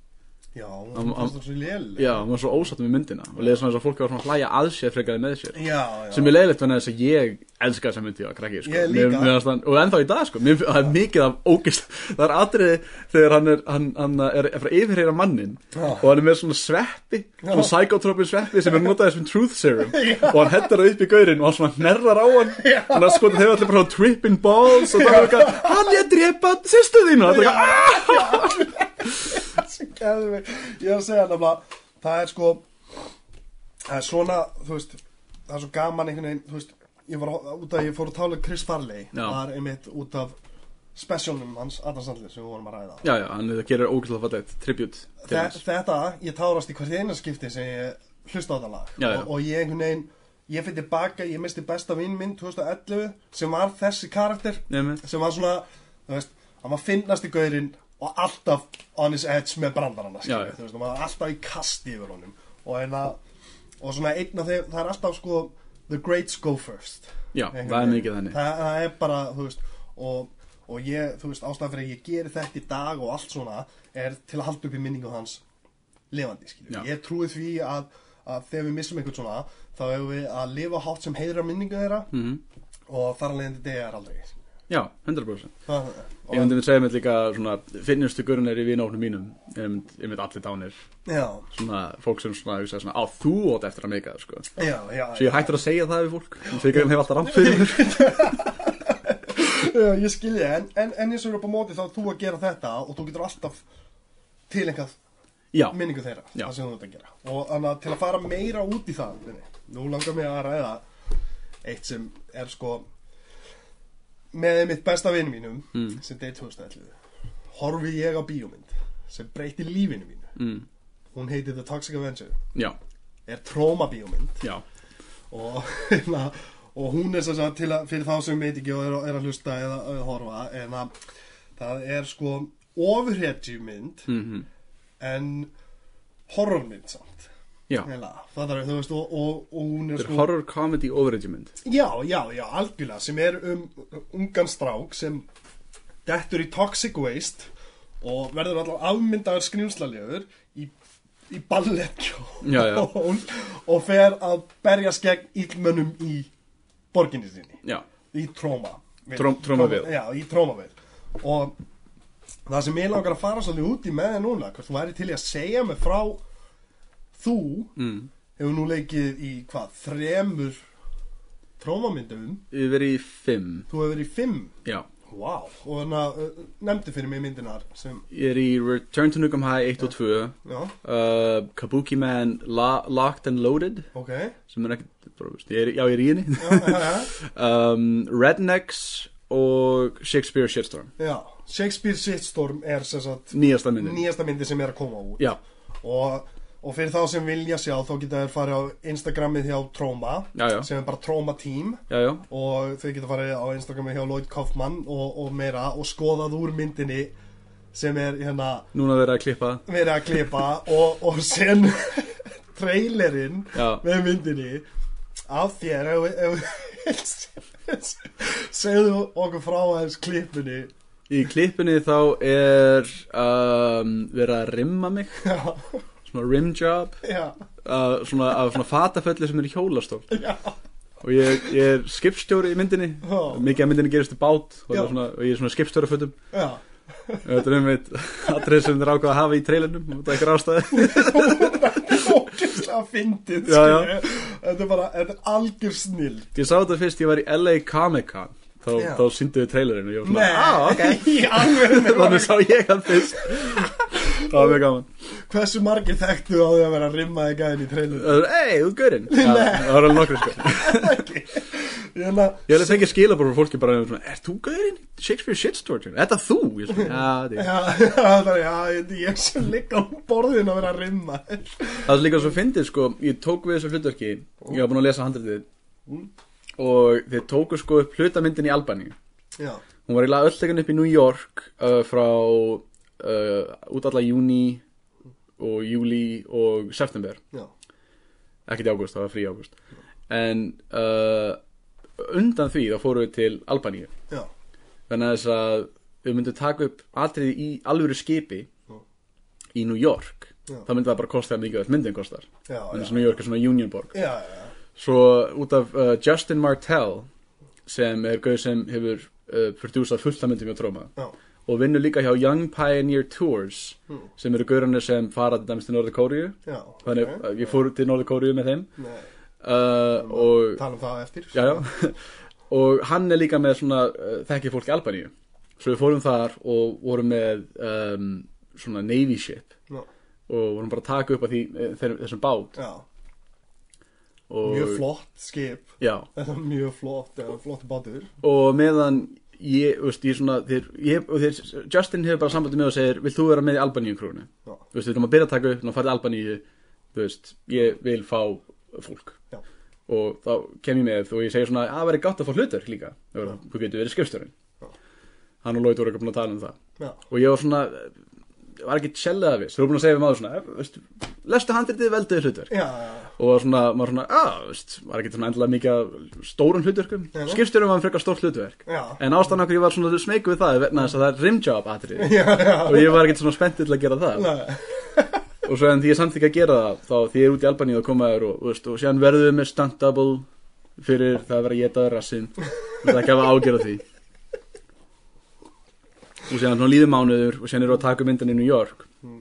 Já, Am- hann am- fannst það svo léleg Já, hann var svo ósatt með myndina Og leiði svona eins og fólk var svona að hlæja að sér frekaði með sér já, já Sem er leiðilegt vegna þess að ég elska þessa myndi á krakki sko. Ég Mér- líka. mér fannst hann- Og ennþá í dag, sko, mér, það er mikið af ógist Það er atriði þegar hann er, hann, hann er, er frá yfirheyra mannin Já. Og hann er með svona sveppi Svona psychotropin sveppi sem er notaði sem [LAUGHS] truth serum Og hann hendar það upp í gaurin og hann svona hnerrar á hann Þannig að sko þau allir bara svona tripping balls Og það er eitthvað, hann er að drepa sýstu þínu Og það er eitthvað, "Ah!" [LAUGHS] Sem gæði mig Ég er að segja nefnilega Það er sko Það er svona, þú veist Það er svo gaman einhvern veginn, þú veist Ég var á- út af, ég fór að tála Chris Farley Já. Var einmitt út af Specialnum hans, Adam Sandler sem við vorum að ræða Já, já, hann það gerir ógæslega fallegt tribute til Þe- hans Þetta, ég tárast í hvert eina skipti sem ég hlusta á þetta lag Já, já. Og, og ég einhvern veginn Ég fyrir tilbaka, ég misti besta vinn minn 2011 sem var þessi karakter Nefnir sem var svona, þú veist, hann var finnast í gaurinn og alltaf on his edge með brandarana, Já, já. skilju, þú veist, hann var alltaf í kasti yfir honum og, hérna, og svona einn af þeim, það er alltaf sko, the greats go first já, Einhvern það er veginn. mikið þannig það, það er bara, þú veist og, og ég, þú veist, ástæðan fyrir að ég geri þetta í dag og allt svona er til að halda upp í minningu hans lifandi, skiljum, Já. ég trúi því að, að þegar við missum einhvern svona þá hefur við að lifa hátt sem heiðra minningu þeirra mm og þar alveg þetta er aldrei skilurðu. já, 100% Það- ég myndi við segja mér líka svona finnustu gurnir í vinóknum mínum ég myndi, ég myndi allir dánir Já, svona fólk sem svona, hugsa svona á þú ótt eftir að meika það sko já, já svo ég hættur að segja það við fólk þegar ég hef alltaf rátt fyrir mér Já, ég skilja, en, en, en eins og er upp á móti þá ert þú að gera þetta og þú getur alltaf tilengjað já, minningu þeirra, Já. það sem þú ert að gera og þannig að til að fara meira út í það minni, nú langar mig að ræða eitt sem er sko með mitt besta vinum mínum Mm. sem deyr 2011 horfi ég á bíómynd sem breyti lífinu mínu mm, hún heiti The Toxic Avenger já, er tróma bíómynd já, og, [LAUGHS] hérna, og hún er sem sagt til að, fyrir þá sem veit ekki og er, er að hlusta eða, eða horfa en að það er sko ofurhetjumynd mm en horfmynd samt já Heila, það er, þú veist, og, og, og hún er þetta er sko horror comedy overagement Já, já, já, algjörlega sem er um ungan strák sem dettur í toxic waste og verður allavega afmyndaður skrýmslalegur í, í ballettkjól Já, já. og, [LAUGHS] og fer að berjast gegn illmönnum í borginni sinni já, í tróma Tróm- trómavið. Já, í trómavið og það sem ég langar að fara svolítið út í með þér núna hvort þú væri til í að segja mig frá þú mm. hefur nú leikið í hvað þremur trómamyndum við verið í fimm þú hefur verið í fimm já, wow. og þannig að uh, nefndi fyrir mig myndinar sem ég er í Return to Nukem High 1 og 2 já, uh, Kabuki Man La Locked and Loaded ok sem er ekkert, bara, þú veist, ég er, já ég er í henni [LAUGHS] já, já, já. um, Rednecks og Shakespeare Shitstorm já, Shakespeare Shitstorm er sem sagt nýjasta minni nýjasta myndi sem er að koma út já, og, og fyrir þá sem vilja sjá þá geta þær farið á Instagramið hjá Tróma Já, já. sem er bara Tróma Team já, já, og þau geta farið á Instagramið hjá Lloyd Kaufman og, og meira og skoðað úr myndinni sem er hérna núna verið að klippa verið að klippa og, og sen [LAUGHS] trailerinn Já. með myndinni af þér ef, ef, segðu okkur frá aðeins klippinni [LAUGHS] í klippinni þá er um, verið að rimma mig já, svona rimjob já, uh, svona, af svona fataföllu sem er í hjólastól já, og ég, ég er skipstjóri í myndinni Já. mikið af myndinni gerist í bát og, það Já. er svona, og ég er svona skipstjórafötum já. þetta er einmitt atrið sem þeir ákvað að hafa í trailernum og þetta er einhver ástæði ógeðslega fyndið Já, já. skilurðu. þetta er bara, þetta er algjör snill Ég sá þetta fyrst, ég var í LA Comic Con Þá, Já. þá sýndu við trailerinu og Ég var svona, á, Ah, ok [LAUGHS] í alveg Þannig sá ég hann fyrst Það var mjög gaman hversu margir þekktu á því að vera rimmaði gæðin í trailinu Það var, Ey, þú gaurinn Já, Það var alveg nokkur sko ég held að, Ég hefði fengið skilabór frá fólki bara um svona, Er þú gaurinn? í Shakespeare shitstorture Þetta þú? Ég svona, já, þetta er ég." já, [LAUGHS] það er, já, ég- ég sem ligga á borðinu að vera rimmaði Það er líka svo fyndið sko Ég tók við þessu hlutverki Ég var búin að lesa handritið Og þeir tóku sko upp hlutamyndin í Albaníu já, Hún var eiginlega öll tekin upp í New York uh, frá uh, út alla júni og júli og september já, ekkert í ágúst, það var frí í ágúst en uh, undan því þá fóru við til Albaníu já þannig að þess að við myndum taka upp atrið í alvöru skipi í New York Já. þá myndi það bara kosta það mikið að myndin kostar já, já. en þess að New York er svona Unionborg já, já, svo út af uh, Justin Martell sem er gauð sem hefur uh, prodúsað fullt af myndum hjá tróma já, og vinnur líka hjá Young Pioneer Tours Hmm. sem eru gaurarnir sem fara til dæmis til Norður Kóriu já, þannig ok. okay. ég fór til Norður Kóriu með þeim Nei, uh, og, tala um það eftir já, já. [LAUGHS] og hann er líka með svona uh, þekki fólk í Albaníu svo við fórum þar og vorum með um, svona Navy ship já, og vorum bara að taka upp að því eh, þeir, þessum bát já. og, mjög flott skip já, þetta er mjög flott, eða flott bátur og meðan ég, þú veist, ég svona þeir, ég, og þeir, Justin hefur bara sambandi með og segir vilt þú vera með í Albaníu krúnu já, þú veist, við erum að byrja að taka upp og farið Albaníu, þú veist, ég vil fá fólk Já. og þá kem ég með og ég segi svona að það væri gott að fá hlutur líka þú veist, þú getur verið skrifstjórinn Já. hann og Lloyd voru ekki búin að tala um það já, og ég var svona, eh, var ekki tjellaða við, þú voru búin að segja við maður svona, eh, veist, lestu handritið velduðu hlutverk já, já, og svona, maður svona, að, veist, maður getur svona endilega mikið af stórum hlutverkum Já. skipstjórum var frekar stórt hlutverk já, en ástæðan okkur ég var svona smeyku við það er vegna þess að það er rimjob atrið já, og ég var ekkert svona spenntið til að gera það já. og svo en því ég samt ekki að gera það þá því ég er út í Albaníu að koma þér og, þú veist, og síðan verðum við með stunt double fyrir það að vera getaður rassin það ekki hafa ágjörð á því og síðan svona líður mánuður og síðan eru að taka myndin í New York Mm.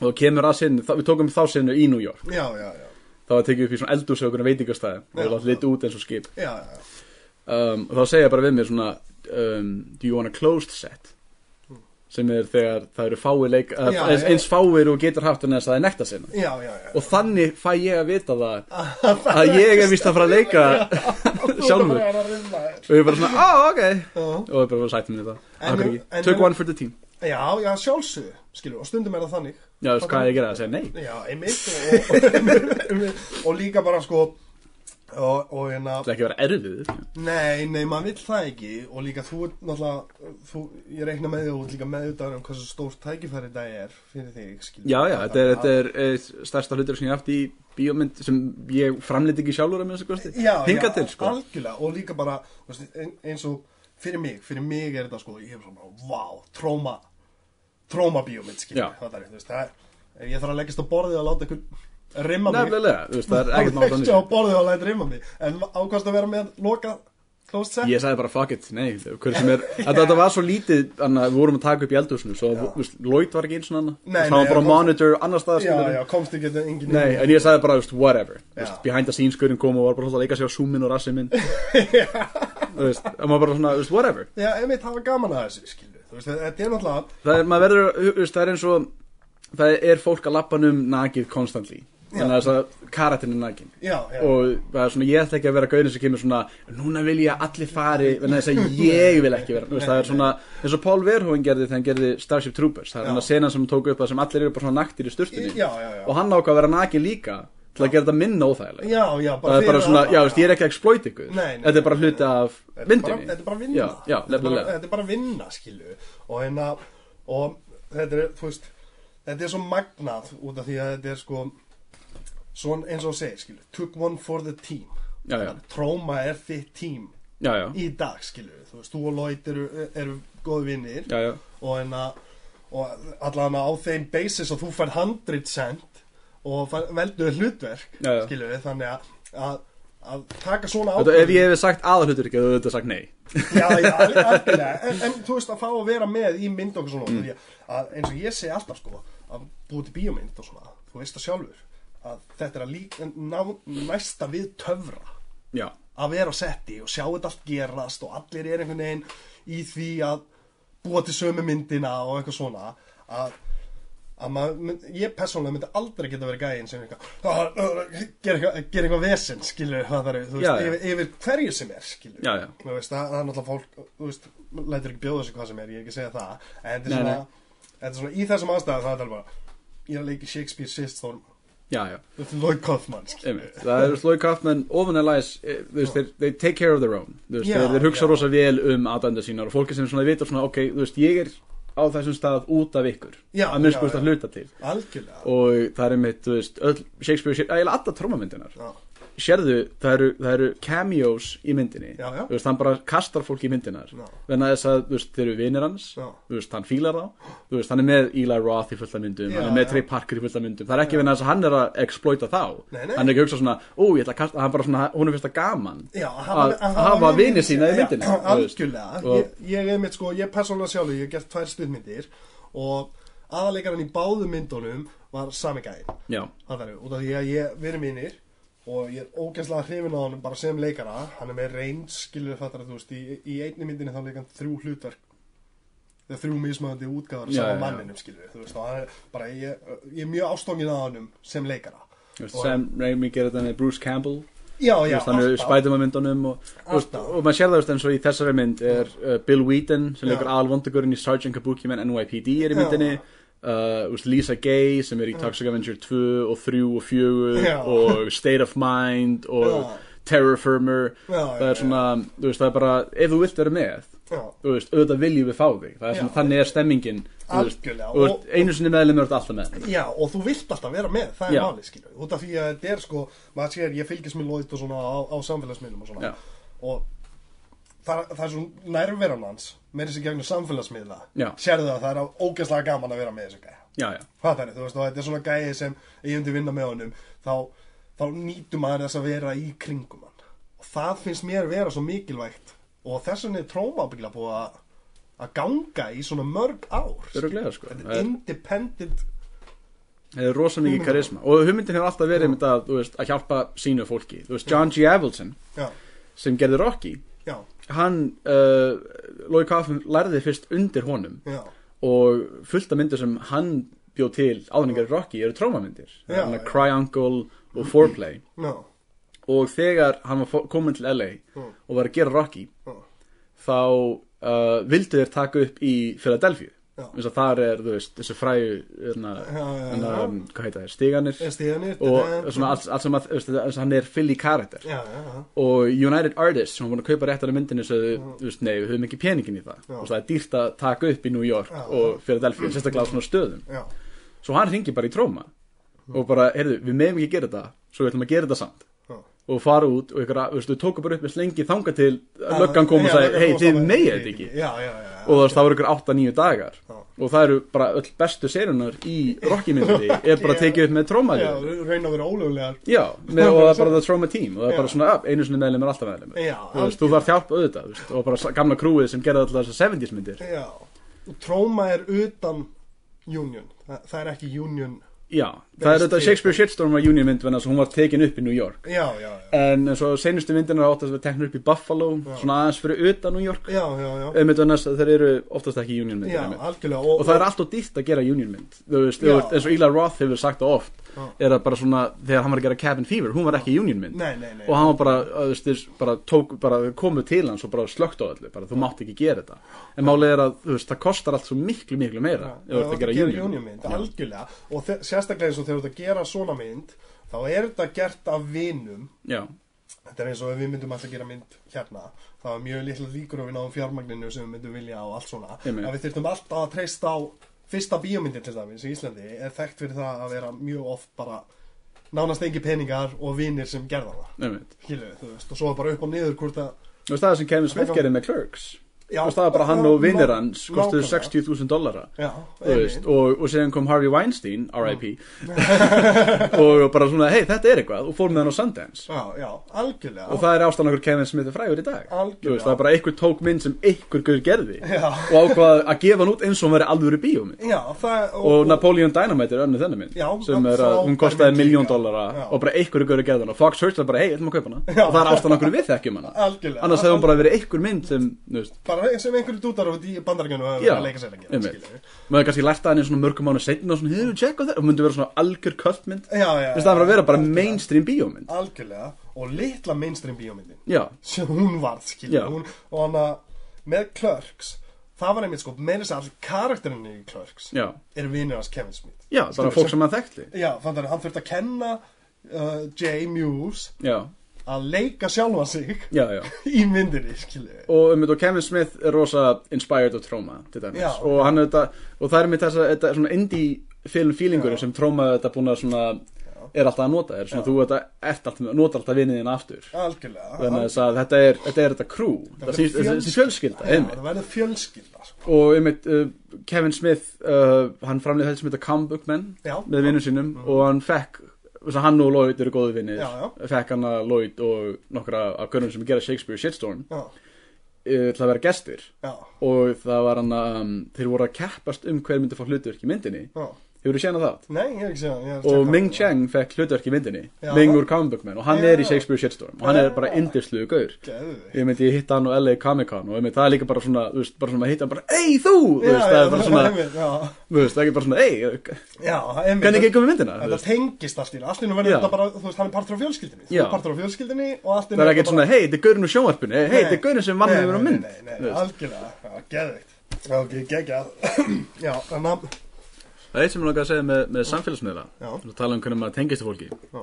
og þá kemur að sinni, við tókum þá sinni í New York Já, já, já, þá var tekið upp í svona eldúsökunar veitingastæði og Já. það látt lit út eins og skip já, já, um, og þá segja bara við mér svona um, do you want a closed set sem er þegar það eru fáir leik, uh, Hmm. Já, eins, já. eins fáir og getur haft en þess að það er nekta sinna já, já, já. [LAUGHS] og þannig fæ ég að vita það að ég er vist að fara að leika [LAUGHS] sjálfur Þú er að rimma þér. og ég er bara svona, á, ok Já. og ég er bara sættum við það En- Akkur ekki. en- took one for the team Já, já, sjálfsögðu, skilur, og stundum er það þannig. já, veist hvað ég gera að segja, nei Já, einmitt, og, [LAUGHS] og, og líka bara, sko, og, og hérna, það er ekki að vera erfið nei, nei, maður vill það ekki, og líka þú, ert náttúrulega, þú, ég reikna með því og þú ert líka meðutagur um hversu stórt tækifæri dag er fyrir þig, skilur. já, já, þetta er, þetta er eh, stærsta hlutur sem ég hef haft í bíómynd sem ég framliti ekki sjálfur að minnst að kosti já, hinga já, til, sko algjörlega og líka bara þú veist, ein- eins og fyrir mig fyrir mig er þetta sko, ég hef svona bara, vá, tróma tróma bíómynd skilur, Já. það er, þú veist, það er ef ég þarf að leggjast á borðið að láta ykkur rimma mig nefnilega, þú veist, það er [LAUGHS] ekkert þá nátt leggst ég á annars borðið og læt rimma mig en ákvæmst að vera með loka closed set Ég sagði bara fuck it, nei, hver sem er Þetta, þetta var svo lítið, þannig að við vorum að taka upp í eldhúsinu Svo, þú veist, Lloyd var ekki eins og annað Nei, Það nei, var bara ég- monitor annars staðar já, skilurðu. já, komst ekki þetta engin Nei, en ég sagði bara, þú veist, whatever Þú Já. veist, Behind the scenes skurinn kom og var bara svolítið að leika sér á Zoom-in og [LAUGHS] rassinn minn Þú veist, en maður bara svona, þú veist, whatever já, einmitt hafa gaman að þessu skilur, þú veist, þetta er náttúrulega Það er, maður verður, þú veist, það er eins og Það er fólk að lappanum nakið constantly Þannig að þess að karatinn er nakin já, já, Og það er svona, ég ætla ekki að vera gauðin sem kemur svona Núna vil ég að allir fari Þannig að þess að ég vil ekki vera Þú veist, Það er svona, eins og Paul Verhoeven gerði þegar hann gerði Starship Troopers Það er Já. hann að sena sem hann tók upp að sem allir eru bara svona naktir í já, sturtunni já, já, Og hann ákvað að vera nakin líka Til að gera þetta minna óþægilegt já, já það er bara fyrir svona, alla. já, veist, ég er ekki að exploit ykkur Nei, nei, þetta er bara nei, hluti af Þetta er bara- Þetta er bara vinna myndinni já, þetta, já, er bara, nefnilega. þetta er bara vinna, skilju Og hérna Og þetta er, þú veist Þetta er svo magnað út af því að þetta er sko Svon eins og þú segir, skilju Took one for the team Já, já. Tróma er þitt team já, já, Í dag, skilju Þú veist, þú og Lloyd eru, eru góði vinnir já, já, Og hérna Og allan á þeim basis að þú fær 100 cent Og fær, velduð hlutverk Já, já. Skilju, þannig að, að að taka svona Þetta, ef ég hefði sagt aðalhutur ekki, þú hefði þetta sagt nei já, já, al- algjörlega en, en þú veist að fá að vera með í mynd og svona mm. að, eins og ég segi alltaf sko að búið til bíómynd og svona þú veist það sjálfur að þetta er að líka ná, næsta við töfra já, að vera setti og sjá þetta allt gerast og allir er einhvern veginn í því að búa til sömu myndina og eitthvað svona að, að maður, mynd- ég persónulega myndi aldrei geta verið gæðin sem eitthvað "Ah, ah, ah", gera eitthvað, gera eitthvað vesen skilur það þar, þú veist, Já, já. Yfir, yfir hverju sem er skilur Já, já. Þú veist, það, það er náttúrulega fólk þú veist, maður lætur ekki bjóða sig hvað sem er, ég er ekki að segja það en þetta er Nei, svona, nei. þetta er svona í þessum ástæðum það er bara, ég er að leika í Shakespeare sýst þó, já, já, Lloyd Kaufman skilur. einmitt það er slói kaftmenn, ofan er læs eh, þú veist, þeir, they take care of their own þú veist, Já, þeir, þeir hugsa já. rosa vel um aðdænda sínar og fólki sem svona vitur svona, ok, þú veist, ég er á þessum stað út af ykkur Já, að minnst já, skust að já. hluta til algjörlega og það er einmitt, þú veist, öll Shakespeare, eiginlega alla trómamyndinar já, sérðu, það eru, það eru cameos í myndinni Já, já. Þú veist, hann bara kastar fólk í myndinar Já. þannig að þess að þú veist, þeir eru vinir hans Já. Þú veist, hann fílar þá Þú veist, hann er með Eli Roth í fullta myndum Já, hann er með já. Trey Parker í fullta myndum það er ekki vegna þess að hann er að exploita þá Nei, nei. hann er ekki að hugsa svona, ó, ég ætla að kasta hann bara svona, hún er fyrst að gaman Já, að hafa vini sína í já, myndinni þú veist. algjörlega, Og- ég, ég er mitt sko ég er persónulega sjálfur, ég hef gert tvær stuðmyndir og aðalegarinn í báðum myndunum var sami gæðin já, það er, út af því að ég, við erum mínir og ég er ógæslega hrifin á honum bara sem leikara, hann er með reynd skilur fattar þú veist, í, í einni myndinni þá leikar hann þrjú hlutverk þegar þrjú mismöðandi útgáður Já, sem já, já. að manninum skilur þú veist, og hann er bara, ég, ég er mjög ástongin á honum sem leikara Þú veist, Og- Sam Raimi gerir þetta með Bruce Campbell já, Þú já, veist, hann er alltaf. spætum að myndunum og, þú veist, Alltaf. og maður sér það þú veist, eins og í þessari mynd er uh, Bill Wheaton sem Já. leikur Al Vondagurinn í Sgt. Kabuki menn NYPD er í Já. myndinni uh, úst, Lisa Gay sem er í Toxic Avenger 2 og 3 og 4 Já. og State of Mind og Já. terraformer Já, það er svona, þú veist, það er bara ef þú vilt vera með, já, þú veist, auðvitað viljum við fá þig það er svona, Já. þannig er stemmingin þú veist, Algjörlega, þú veist, og- einu sinni meðlum er alltaf með já, og þú vilt alltaf vera með, það er Já. málið, skilur við. Út af því að þetta er sko, maður sér, ég fylgist með Lloyd og svona á, á samfélagsmiðlum og svona. Já. Og það, það er svona nærveran hans, með þessi gegnum samfélagsmiðla. Já. Sérðu það, það er ógeðslega gaman að vera með þessu gæja. já, já, Hvað það er, þú veist, og þetta er svona gæja sem ef ég myndi vinna með honum, þá, þá nýtum maður þess að vera í kringum hann. Og það finnst mér vera svo mikilvægt. Og þess vegna er tróma ábyggilega búið að, að ganga í svona mörg ár. öruglega sko það er- Independent það er Eh, rosa mikið Hugmyndin. karisma og hugmyndin hefur alltaf verið með það, þú veist, að hjálpa sínu fólki, þú veist, John G. Avildsen Já, sem gerði Rocky já, hann, uh, Lói Kaffin lærði fyrst undir honum já, og fullt af myndir sem hann bjó til áðningar Rocky eru trómamyndir Já, Þannig já. að Cry Uncle og Foreplay já, og þegar hann var fó- kominn til LA Mm. og var að gera Rocky já, þá uh, vildu þeir taka upp í Philadelphia Já. þess að þar er þú veist, þessu fræju hérna, Já, já, hérna, já. um, hvað heita þeir, stíganir Já, stígarnir, og þetta- svona allt, allt sem að þú veist, þetta- þess að hann er Philly karakter já, já, já, og United Artists sem var búin að kaupa réttar af myndinni sögðu, þú veist, nei, við höfum ekki peningin í það Já. og það er dýrt að taka upp í New York Já. og Philadelphia, sérstaklega á svona stöðum já, svo hann ringi bara í tróma og bara, heyrðu, við meðum ekki gera þetta svo við ætlum að gera þetta samt já. og fara út og ykkur, veistu, tóku bara upp með slengi þanga til Já, að löggan kom já, og sagði, löggan hei, kom og þið sagði, megið þetta ekki Já, já, já, og þú veist, það voru ykkur 8-9 dagar Já. og það eru bara öll bestu serunar í rockimyndi, er bara Já. tekið upp með já, trómaðið, reyna að vera ólögulegar já, með, og það er bara the trauma team og það er bara Sko, Já. svona, "Ah, einu sinni meðlum er alltaf meðlum Já, þú veist, þú þarf hjálp auðvitað, þú veist, og bara sa- gamla krúið sem gerði alltaf þessar 70s myndir Já, og tróma er utan union, Þa, það er ekki union já, það er Best auðvitað til. Shakespeare Shitstorm var union mynd, þannig að hún var tekin upp í New York Já, já, já, en eins og senustu myndina áttast við teknir upp í Buffalo, svona aðeins fyrir utan New York já, já, já, einmitt annars þeir eru oftast ekki union myndir já Eh, einmitt. algjörlega og það er alltaf dýrt að gera union mynd þú veist, þú Já. veist, eins og Eli Roth hefur sagt það oft Já. er að bara svona, þegar hann var að gera Cabin Fever hún var ekki union mynd Nei, nei, nei. og hann var bara, þú veist, þess, bara, tók, bara komu til hans og bara slögt á öllu bara, þú mátt ekki gera þetta en málið er að þú veist, það kostar allt svo miklu, miklu meira ef þú það ert er að gera union, mynd, algjörlega og þe- sérstaklega eins og þegar þú ert að gera svona mynd þá er þetta gert af vinum Já. þetta er eins og ef við myndum alltaf að gera mynd hérna þá er mjög litla líkur að við náum fjármagninu sem við myndum vilja og allt svona Einmitt. að við þyrftum alltaf að treysta á fyrsta bíómyndin til dæmis í Íslandi er þekkt fyrir það að vera mjög oft bara nánast engi peningar og vinir sem gerða það einmitt. Skilu, þú veist, og svo er bara upp og niður hvort að þú veist, það er sem Kevin Smith gerði með Clerks Já. þú veist, það er bara hann Já, og vinnir ná- hans kostuðu nákvæmlega. 60.000 dollara já, Þú veist, einmitt. og, og síðan kom Harvey Weinstein R.I.P. [LAUGHS] og bara svona, hei þetta er eitthvað og fór með hann á Sundance já, já, algjörlega og það er ástæðan okkur Kevin Smith er frægur í dag Algjörlega. Þú veist, það er bara einhver tók mynd sem einhver guður gerði Já. og ákvað að gefa hann út eins og hann veri alvöru bíómynd já, það, og Napoleon Dynamite er önnu þennan mynd Já, sem er að frábær hún kostaði mynd miljón líka. Já. dollara og bara einhver guður gerði hann og Fox Search er bara, hei, ætlum að kaupa hana Já. og það er ástæðan okkur við þekkjum hana Algjörlega. annars hefur hún bara verið einhver mynd sem, þú veist, bara eins og einhverju dútar út í bandarækjunum að Já, vera að leika sér að gera einmitt. skilurðu. maður hefði kannski lært að henni svona mörgum mánu setna og svona, hefur þú tjekk á það og myndi vera svona algjör kvöldmynd Já, já, þess að já, vera að vera bara algjörlega. mainstream bíómynd algjörlega og litla mainstream bíómyndin já, sem hún varð Já. skilur hún, og hann að með Clerks það var einmitt sko með þess að all karakterinn í Clerks já, er vinur hans Kevin Smith já, bara Skilur, fólk sem maður þekkti já, þannig að hann þurfti að kenna uh, J. Muse já, að leika sjálfa sig [LAUGHS] já, já í myndinni skilur og, um, og Kevin Smith er rosa inspired of Troma til dæmis Já. og, hann, þetta, og það er mitt þess að þetta er svona indie film feelingurinn sem Troma þetta búin að svona er alltaf að nota er svona, þú þetta, ert alltaf, nota alltaf vinið þinn aftur algjörlega þannig að þess að þetta er þetta, er þetta crew þetta verður snýst- þetta- þessi fjölskylda já, einmitt. það verður fjölskylda sko. og einmitt, uh, Kevin Smith uh, hann framlega þetta sem þetta Comeback Men Já. með vinnum sínum og hann fekk þess að hann og Lloyd eru góðu vinnir Já, já. fekk hann að Lloyd og nokkra af görnum sem gera Shakespeare Shitstorm uh, já, til að vera gestir já, og það var hann að um, þeir voru að keppast um hver myndi fá hlutverk í myndinni já hefur þú séð það? nei, ég er ekki segja og Ming Chang fekk hlutverk í myndinni Já. Ming úr Comeback Men og hann Já. er í Shakespeare Shitstorm og hann er bara Já. indisluðu gaur Geðvig. ég myndi ég hitta hann á LA Comic Con og ég myndi það er líka bara svona, þú veist, bara svona að hitta hann bara, ei þú, Já, þú veist, það já, er bara svona einmitt, já. þú veist, það er ekki bara svona, ei, Já, einmitt. hvernig ekki komið myndina þú Þetta veist? tengist allt í allt í nú verður Já. þetta bara, þú veist, hann er partur á fjölskyldinni Þú Já. er partur á fjölskyldinni og allt í það er ekki svona, hei, þetta er gaurinn úr sjónvarpinu hei, þetta er gaurinn sem vann Nei, við verið á nei, mynd Nei, nei, nei, algjörlega, já, Þú veist, geðvikt Já, ok, geggjað [CLEARS THROAT] Já, þannig að, það er eitt sem ég langar að segja með, með samfélagsmiðla Já. Þú tala um hvernig maður tengist í fólki Já.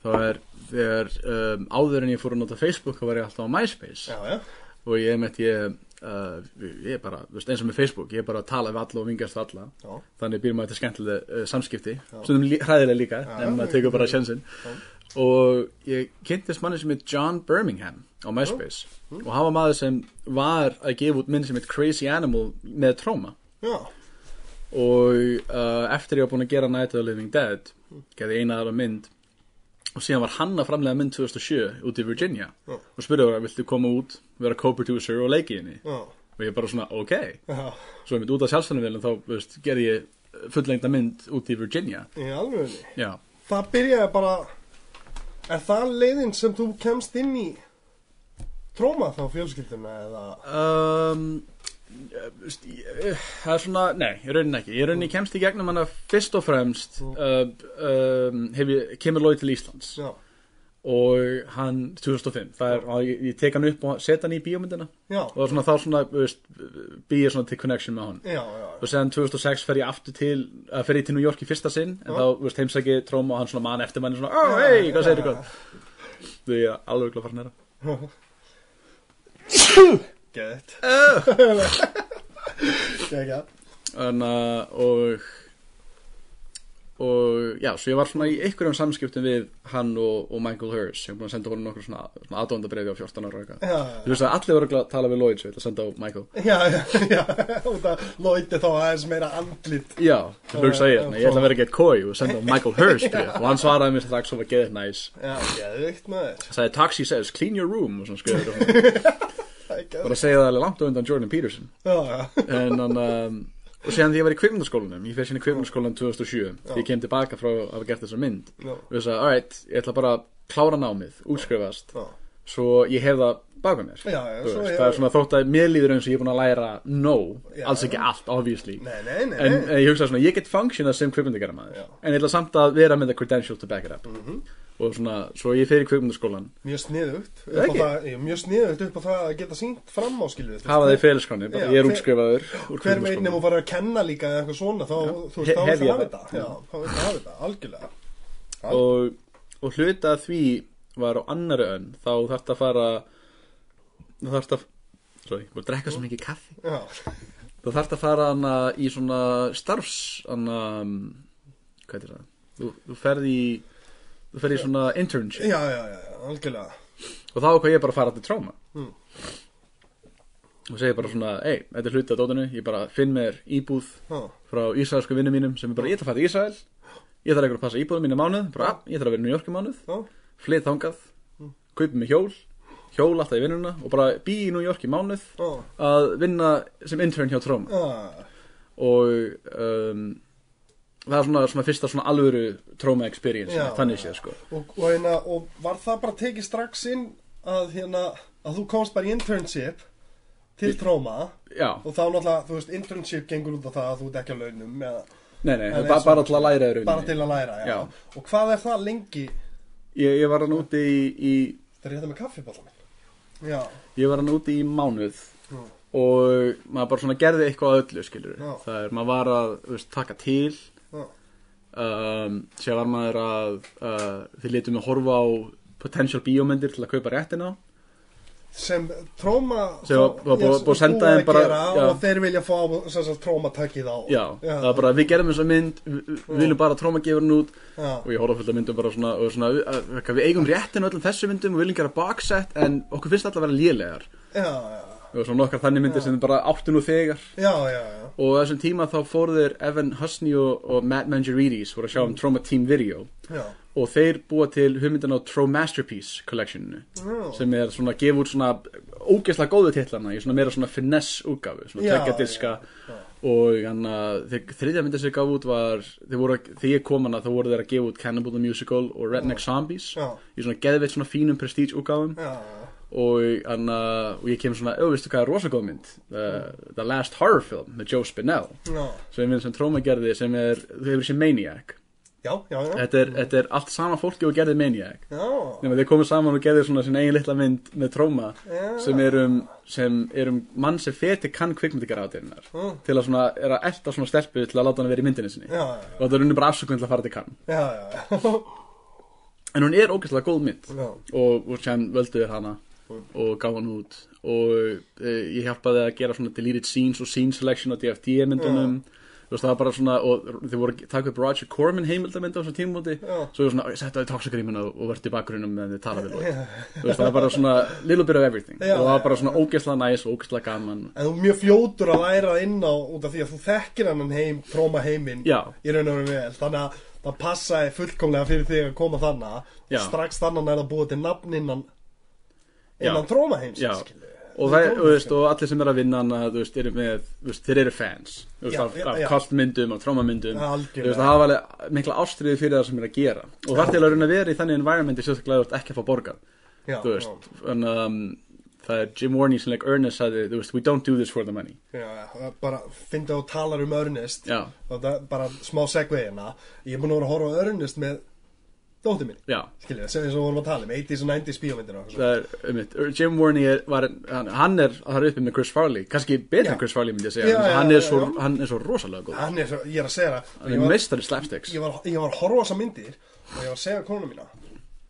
þá þá er þegar um, áður en ég fór að nota Facebook þá var ég alltaf á MySpace já, já, og ég með ég Uh, ég er bara, þú veist, eins og með Facebook ég er bara að tala við alla og vingast við alla já, þannig býr maður þetta skemmtilega uh, samskipti sem lí, hræðilega líka, Já, en já, maður tekur bara já. sjensin og ég kynntist manni sem heit John Birmingham á MySpace og hann var maður sem var að gefa út minn sem heit Crazy Animal með tróma já, og uh, eftir ég var búin að gera Night of the Living Dead gerði eina aðra mynd og síðan var hann að framlega mynd 2007 út í Virginia Já. og spurði hann, viltu koma út vera co-producer og leiki í henni já, og ég bara svona, ok já, svo ég mynd út af sjálfstæðanvélum þá þú veist, gerði ég fullengda mynd út í Virginia í alveg já, það byrjaði bara er það leiðin sem þú kemst inn í tróma þá fjölskylduna eða um, eh, veist, ég- eh, það er svona, nei, ég raunin ekki ég raunin kemst í gegnum hana fyrst og fremst uh, um, hef ég, kemur lóið til Íslands já, og hann 2005, það er, og ég, ég tek hann upp og setja hann í bíómyndina já, og svona, þá svona, þú veist, bý ég svona til connection með hann já, já, og sen 2006 fer ég aftur til að fer ég til New York í fyrsta sinn en Já. þá veist, heimsæki Tróm og hann svona mann eftir manni svona, oh, hey, hvað segir ykkur því ég er alveg glöð farin þeirra geðið geðið, en að og og já, svo ég var svona í einhverjum samskiptum við hann og, og Michael Hurst ég er búin að senda honum nokkur svona, svona aðdóndabrefi á 14 ára og eitthvað já, ég veist að allir voru örugglega að tala við Lloyd svo ég ætla að senda á Michael já, já, já, út að lóti þá aðeins meira andlit já, það hugsa ég, já, nei, ég ætla að vera að geta kói og senda á Michael [LAUGHS] Hurst bréf. og hann svaraði mér strax og var geðið næs já, geðið, maður sagði Taxi says clean your room og svona skrifaði þetta. það er [LAUGHS] geðið, bara að segja það alveg langt á undan Jordan Peterson já, já, en hann um, og séðan því ég var í kvikmyndaskólanum ég fyrir sinni kvikmyndaskólanum 2007 því ég kem tilbaka frá að hafa gert þessa mynd Já. og ég sagði, alright, ég ætla bara að klára námið útskrifast, já, svo ég hef það baka mér, Já, já, Þú svo veist, ég- það er svona þótt að mér líður eins og ég er búin að læra nóg, Já, alls ekki allt obviously, nei, nei, nei, en nei. eh, ég hugsaði svona, ég get functionað sem kvikmyndagjara maður, Já. Mhm. en ég ætla samt að vera með the credential to back it up og svona, svo ég fer í kvikmyndaskólan mjög sniðugt upp Það á ekki? það, já, mjög sniðugt upp á það að geta sínt fram á skilvið hafa það í félskráni, Já, bara ég er hver- útskrifaður úr hver veit kvikmyndaskólanum. nefnum að fara að kenna líka eða eitthvað svona þá, þú veist, He- þá veist að hefja hafa það. þetta já, þá veist að hafa þetta, algjörlega og, og hluta af því var á annari önn þá þarft að fara þá þarft að sorry, búið að drekka svo mikið kaffi já, þá þarft að fara hana í svona starfs hana, hvað er það þú, þú ferð í þú ferð í svona internship já, já, já, já, algjörlega og þá ákvað ég bara að fara til tráma Mm. og segi bara svona ei, þetta er hluti af dótinu, ég bara finn mér íbúð já, frá ísraelsku vinnum mínum sem er bara, ég ætla að fara til Ísrael ég þarf eitthvað að passa íbúðum mínu mánuð bara, "Ah, ég þarf að vera í New York í mánuð já, flytt þangað, Mm. kaupi mig hjól hjól alltaf í vinnuna og bara bý í New York í mánuð já, að vinna sem intern hjá Tróma já, og um, það er svona, svona fyrsta svona alvöru Tróma experience Já. þannig séð sko og, og, hérna, og var það bara tekið strax inn að, hérna, að þú komst bara í internship til tróma já, og þá náttúrulega, þú veist, internship gengur út á það að þú ert ekki á launum eða nei nei, En ba eins og- bara til að læra bara til rauninni að læra, já. Já. og hvað er það lengi ég, ég var hann úti í, í þegar ég þetta hérna með kaffibólan já, ég var hann úti í mánuð já, og maður bara svona gerði eitthvað að öllu skilur Já. það er, maður var að þú veist, taka til já, um, sér var maður að uh, þið letum að horfa á potential bíómyndir til að kaupa réttina sem tróma Sem var- var búið- já, búið að senda búið þeim bara- gera, já. og þeir vilja fá sem sagt, trómatakið á já, það var bara við gerðum þessa mynd við, við viljum bara tróma gefa hann út já, og ég horfði fullt af myndum bara svona, og svona uh, uh, við eigum réttin á öllum þessu myndum og viljum gera box set en okkur finnst alltaf að vera lélegar já, já, og svona nokkar þannig myndir sem bara áttu nú þegar já, já, já. og á þessum tíma þá fóru þeir Evan Husney og, og Matt Mangerides voru að sjá um Trauma Team Video já. og þeir búa til hugmyndin á Tro Masterpiece collectioninu Já. sem er svona að gefa út svona ógeðslega góðu titlana í svona meira svona finesse útgafu svona Já, tekja diska og hann að þeir- þriðja myndin sem gaf út var þeir voru, að- þegar ég kom hana þá voru þeir að gefa út Cannibal the Musical og Redneck Zombies Já. í svona geðveitt svona fínum prestige útgafum já, og, hann, að- og ég kem svona, "Ó, veistu hvað er rosa góð mynd uh, The Last Horror Film með Joe Spinell já, sem er mynd sem Tróma gerði sem er, þau hefur sér Maniac já, já, já, þetta er, þetta er allt sama fólki og gerði Maniac já, nema þeir komu saman og gerðu svona sinna eigin litla mynd með tróma Já. sem er um, sem er um mann sem feti kann kvikmyndigaraðirinnar Mm. til að svona, er að elta svona stelpu til að láta hann vera í myndinni sinni Já, já, já. og þetta er unni bara afsökun til að fara til kann já, já, já. en hún er ógeðslega góð [LAUGHS] mynd já, og, og sem völduði hana Mm. og gaf hann út og e, ég hjálpaði að gera svona deleted scenes og scene selection á DFT myndunum þú veist það var bara svona og þau voru að taka upp Roger Corman heimildamynd á þessum tímúti já, svo ég var svona, settu það í toxagrímuna og verði í bakgrunum meðan þið talaði við Lloyd. þú veist það var bara svona little bit of everything Já, og það var já, bara svona ógeðslega næs og ógeðslega gaman en þú er mjög fljótur að læra inn á út af því að þú þekkir hann heim, tróma heiminn já, í raun og veru vel þannig að það passaði fullkomlega fyrir þig að koma þannig Já. og strax þannig er það búið til nafn innan Já. innan tróma heims Já. skilurðu. og, það, og, veist, og allir sem er að vinna hana þú veist, eru með, þú veist, þeir eru fans þú veist, Já, af, já, af já. kallmyndum, af trómamyndum þú Algjörlega. veist, það hafa alveg mikla ástriði fyrir það sem er að gera og það er til að reyna að vera í þannig environmenti sérstaklega þú ert ekki að fá borgað já, þú veist, en um, það er Jim Warney sem leik Ernest sagði, þú veist, we don't do this for the money já, já, já, bara fyndi og talar um Ernest já, og það er bara smá segveina ég er búin að vera að horfa á Ernest með dóttir minni já skilja, sem við vorum að tala um 80s og 90s bíómyndir og eitthvað það er, um mitt, Jim Warney er, var, hann, hann er, það er uppið með Chris Farley kannski betur Já. en Chris Farley myndi ég segja Já, já, já, hann, já, er svo, já. hann er svo rosalega góð svona. hann er svo, ég er að segja það hann ég er var, meistari slapsticks ég, var, ég var að horfa á þessa myndir og ég var að segja að konuna mína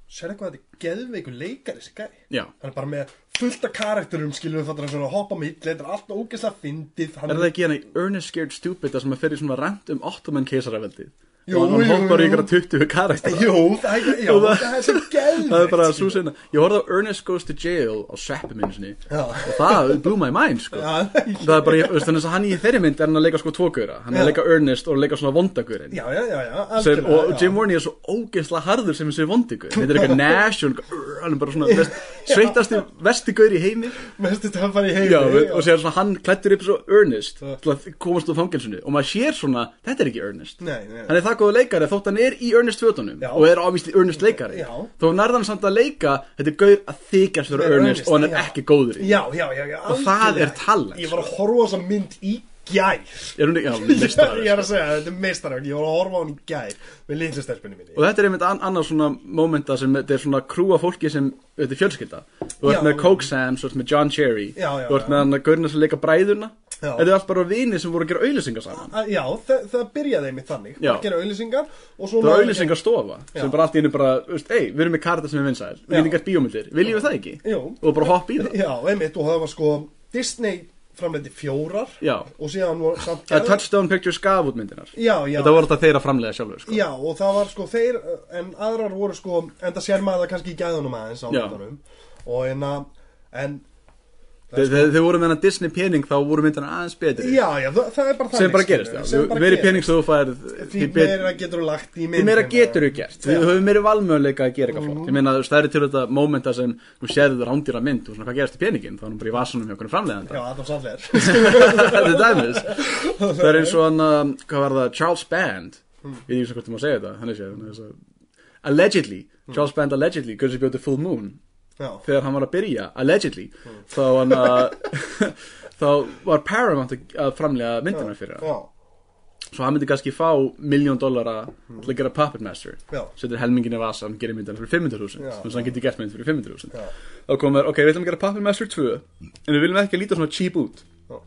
sér eitthvað að þetta er geðveikur leikari þessi gæði já, hann er bara með fullt af karakterum skilur við þannig að svona hoppa mitt þetta er alltaf ógeðslega fyndið hann Er það ekki hann í Ernest Scared Stupid þar sem að fyrir svona rant um Ottoman keisaraveldið? Jú, og hann jú, hoppar í jú. ykkur 20 karakter jú, það, já, Og það- það er svo geðveikt Það er bara svo skilur. sinna Ég horfði á Ernest Goes to Jail á sveppi minn sinni Já. og það blew my mind sko Já. Það er bara, ég- veist, þannig að hann í þeirri mynd er hann að leika sko tvokaura hann er að Já. leika Ernest og leika svona vondagurinn já, já, já, já, sem, algjörlega, og já. Jim Warney er svo ógeðslega harður sem þessi vondigur þetta [LAUGHS] er eitthvað Nash og hann- urr, hann er bara svona vest, sveittasti vesti gaur í heimi mestu töffar í heimi já, og sér svona hann klættur upp svo Ernest Já. til að komast úr fangelsinu og maður sér svona, þetta er ekki Ernest Nei, nei, nei. hann er það góða leikari þótt hann er í Ernest fötunum Já. og er ofvísli Ernest leikari Já. þó nærðan samt að leika þetta er gaur að þykja sér Ernest, Ernest, Ernest og hann er já. ekki góður í já, já, já, já Og það algjörlega. er talent, ég var að horfa á þessa mynd í gær [LAUGHS] er hún ekki alveg ég mistað er að segja, þetta er meistarverk ég var að horfa á hann í gær með litlu stelpunni minni og þetta er einmitt an annar svona momenta sem þetta er svona krúa fólki sem þetta er fjölskylda þú ert Já. með Coke Sam, þú ert með John Cherry Já, já, þú ert já. með hann að gaurina sem leika bræðuna Já. þetta er allt bara vini sem voru að gera auðlýsingar saman Að- já, það, það byrjaði einmitt þannig Já. að gera auðlýsingar og svo Það var náðu- auðlýsingar stofa sem Já. bara allt í einu bara, þú veist, ei, við erum með karta sem er vinsæl við Já. erum gert bíómyndir, viljum við það ekki? Jú. Og bara hoppa í það Já, einmitt, og það var sko Disney framleiti fjórar Já. og síðan var samt Það er Touchdown Pictures gaf út myndinar Já, já, Þetta voru þetta þeir að framlega sjálfur sko. já, og það var sko þeir en aðrar voru sko, enda sér maður það kannski í gæðunum aðeins á Já. myndanum og en að, en Þegar þegar þau voru með hennar Disney pening þá voru myndinar aðeins betri já, já, það, það er bara þannig sem bara gerist skilurðu, já. sem Þú bara meiri gerist. pening sem þú færð því bet- meira getur þú lagt í mynd því meira getur þú gert Já. Þú Mhm. hefur meiri valmöðuleika að gera eitthvað flott Ég meina þú veist, það eru til þetta momenta sem þú sérðu rándýra mynd og svona hvað gerist í peningin þá er hann bara í vasunum hjá okkur Já, [LAUGHS] Adam Sandler framleganda Þetta er dæmis Það er eins og hann, um, hvað var það, Charles Band Ég veit ekki hvort þú má segja þetta, hann er sér hann er svo- Allegedly, Charles Band allegedly, Guns bjóti Full Moon Já, þegar hann var að byrja, allegedly þá hann að [LAUGHS] þá var Paramount að- að framlega myndina fyrir hann, já, svo hann myndi kannski fá miljón dollara til að gera Puppet Master Já. setur helmingin í vasan, gerir myndina fyrir 500.000 Já, þannig að hann getur gert mynd fyrir 500.000 Já. þá komur, ok, við ætlum að gera Puppet Master 2 en við viljum ekki að líta svona cheap út já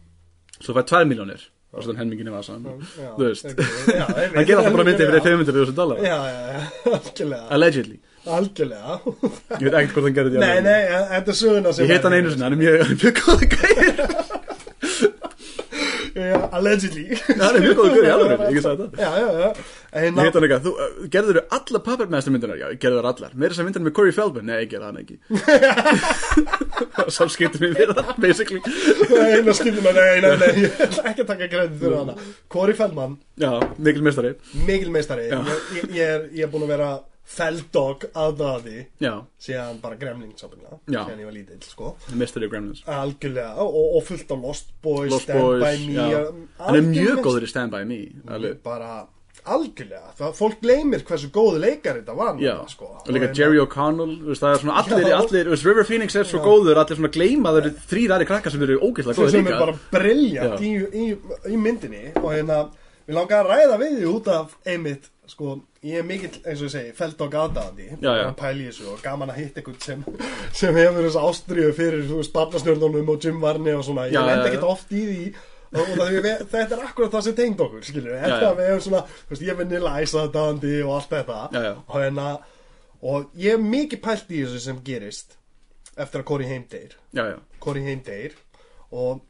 svo fær 2 miljónir og svo helmingin í vasan já, þú veist, ok, já, einmitt. hann gerir alltaf bara myndi fyrir 500.000 dollara Já, já, já, [LAUGHS] algjörlega allegedly, Algjörlega ég veit ekkert hvort hann gerir því Nei, alveg. nei, en- þetta er söguna sem ég heit hann einu sinni, hann er mjög, mjög góð gæri Já, Allegedly [LAUGHS] hann er mjög góð gæri, alveg, ég get sagt það Já, já, já En Ég heit hann eitthvað, þú uh, gerður þau allar Puppet Master myndunar, já, ég gerður þau allar Meira þess að myndunar með Corey Feldman, nei, ég gerði hann [LAUGHS] ekki [LAUGHS] Samskiptum við fyrir það, basically [LAUGHS] eina skiptum að Nei, nei, nei, ég ætla ekki að taka græðið fyrir hana Kori Feldman, Já, mikil mestari, mikil meistari ég, ég, ég er, ég er búin að vera Feldog aðdáði já, Síðan bara gremling sápinga Já. Síðan ég var lítill, sko mestari Gremlins Algjörlega, og, og fullt af Lost Boys Lost Stand Boys, By Me já algjör Hann er mjög meistari. góður í Stand By Me, alveg Bara algjörlega, það, fólk gleymir hversu góðu leikar þetta var Já, náttúrulega, sko. og líka Jerry O'Connell, þú veist, það er svona allir, Já. allir, þú veist, River Phoenix er svo góður, allir svona gleyma, það eru þrýr aðri krakkar sem eru ógeðslega góður sem er bara líka briljant Já. í, í, í myndinni og hérna við langar að ræða við því út af einmitt sko, ég er mikill, eins og ég segi, felt og gataðandi Já, já. og pæli í þessu og gaman að hitta einhvern sem, sem hefur þessu ástriðu fyrir þú veist, barnasnjörnunum og Jim Varney og svona, ég Já, já, lend já. ekkert oft í því og og það, við, þetta er akkurat það sem tengd okkur skilur, Já, þetta já. við hefum svona þú veist, ég er Vanilla Ice aðdáandi og allt þetta Já, já. og hérna og ég hef mikið pælt í þessu sem gerist eftir að Corey Haim deyr já, já, Corey Haim deyr og,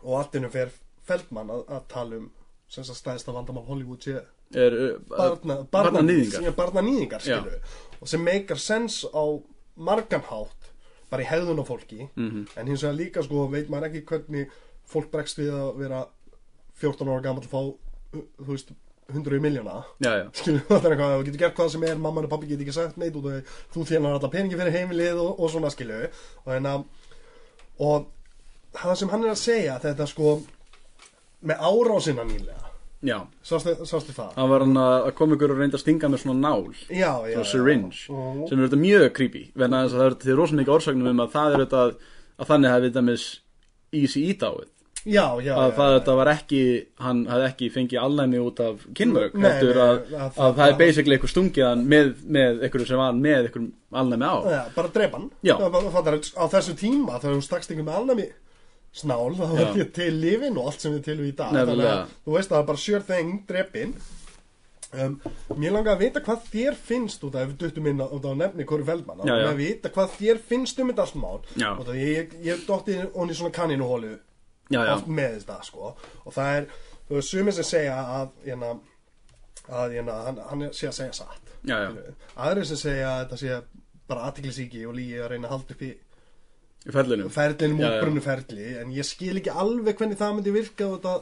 og allinu fer Feldman að, að tala um sem sagt stæðist að vandamál Hollywood sé er, uh, barna, barna, barnanýðingar. síðan barnanýðingar skilu og sem meikar sens á margan hátt bara í hegðun á fólki -hmm. en hins vegar líka sko veit maður ekki hvernig fólk bregst við að vera 14 ára gamall og fá uh, þú veist 100 miljóna já, já, skilu það er eitthvað þú getur gert hvað sem er mamman og pappi getur ekki sagt neitt út og þú þjónar alla peningi fyrir heimilið og, og svona skilu og hérna og það sem hann er að segja þetta sko með árásina nýlega já sástu, sástu það hann var hann að að koma ykkur og reynda að stinga með svona nál já, já, svona já. syringe Mhm. sem er þetta mjög creepy vegna þess að það er til rosan ekki orsagnum um að það er þetta að þannig hefði þetta mis easy eat á it já, já, að já, það já. þetta var ekki hann hafði ekki fengið alnæmi út af kynmörg Nei, heldur nei, að, að- að, að- það er basically eitthvað stungið hann með, með einhverju sem var með einhverjum alnæmi á Já, bara drepa hann Já. Það var- það er- á þessu tíma þegar hún stakst ykkur með alnami snál þá var Já. ekki til lífin og allt sem við til við í dag Nefnilega. Þannig að þú veist að það er bara sure thing drepin um, mér langar að vita hvað þér finnst út af ef við duttum inn á, út á nefni Kori Feldman Já, já. að vita hvað þér finnst um þetta allt mál Já. og það ég, ég, ég dotti hún í svona kanninuhólu já, já, oft með þetta sko og það er, þú veist, sumir sem segja að, hérna, að hérna, hann, hann sé að segja satt já, já. aðrir sem segja að þetta sé bara aðtiklisíki og lígi að reyna að halda upp í í ferlinu ferlinum Já, og já. brunnu ferli en ég skil ekki alveg hvernig það myndi virka og þetta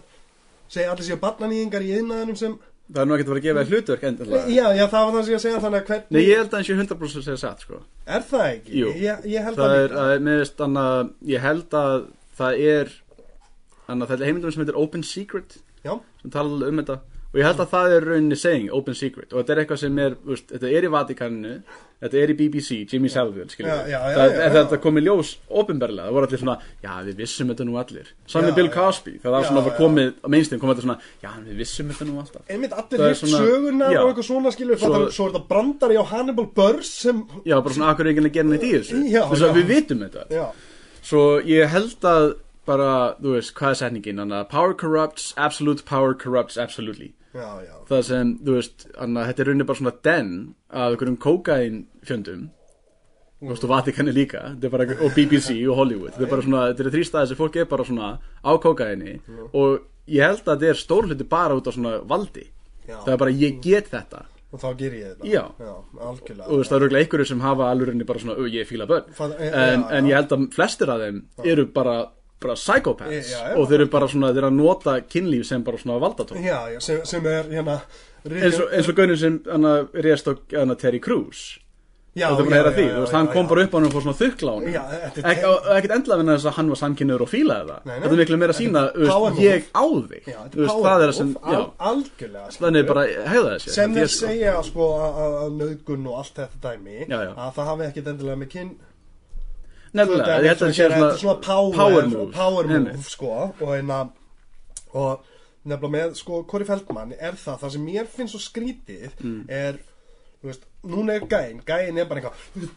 segja allir séu barnanýðingar í yðnaðinum sem það er nú ekkert að fara að gefa þér hlutverk endilega já, já, það var það sem ég að segja þannig að Nei, hvernig ég held að hann sé 100% segja satt sko. er það ekki? Jú. Ég, ég held það að er, að, mér veist, anna, ég held að það er anna, það er heimildum sem heitir Open Secret já, sem tala um þetta og ég held að það er rauninni saying, open secret og þetta er eitthvað sem er, veist, þetta er í Vatikaninu þetta er í BBC, Jimmy Savile skiljum Já, við. já, já, Það- já, en já. þetta kom í ljós ofinberlega, það voru allir svona já, við vissum þetta nú allir, sami Já, Bill já. Cosby það var Já, svona að já. komið, á mainstream kom þetta svona já, við vissum þetta nú alltaf einmitt Það allir er hitt svona- sögurnar já. og eitthvað svona skilur svo, Svo- svo er þetta brandari á Hannibal Burrs sem já, bara svona, akkur er ekki að gera neitt í þessu Já, þess að já. við vitum þetta já, Svo ég held að bara, þú veist, hvað er setningin hann að power corrupts, absolute power corrupts absolutely. já, já, Það sem, þú veist, hann að þetta er rauninni bara svona den af einhverjum kókain fjöndum Þú veist, og Vatikani líka, þetta er bara, og BBC og Hollywood, þetta er bara svona, þetta er þrý staði sem fólk er bara svona á kókaini og ég held að þetta er stór hluti bara út af svona valdi. Já. Það er bara, ég get þetta. og þá ger ég þetta Já. algjörlega og þú veist, það eru örugglega einhverjir sem hafa alveg rauninni bara svona, "Ö, ég fíla börn Fad- já, en, e- já, en já. ég held að flestir af þeim eru bara, bara psychopaths E- Já, já, og þeir eru bara svona, þeir eru að nota kynlíf sem bara svona valdatón já, já, sem, sem er hérna eins og, eins og gaunin sem hana, réðst á hana, Terry Crews já, og það var að heyra því, þú veist, hann kom bara upp á hann og fór svona þukkla á Já, hann þetta er Ek- Terry- og- og ekkert endla vinna þess að hann var samkynniður og fílaði Nei, það nei. þetta er miklu meira að sína, þú power move. veist, ég á þig Já, þetta þú veist, það er það power sem, move, já, al- algjörlega skilur. þannig bara hegða þessi sem þeir segja sko að- að að nauðgun og allt þetta dæmi Já, já. að það hafi ekkit endilega með kyn nefnilega, ég held þetta að þetta er sé svona power, move power Einmitt. move sko og einna og nefnilega með sko Kori Feldman er það það sem mér finnst svo skrítið Mm. er þú veist núna er gæin gæin er bara eitthvað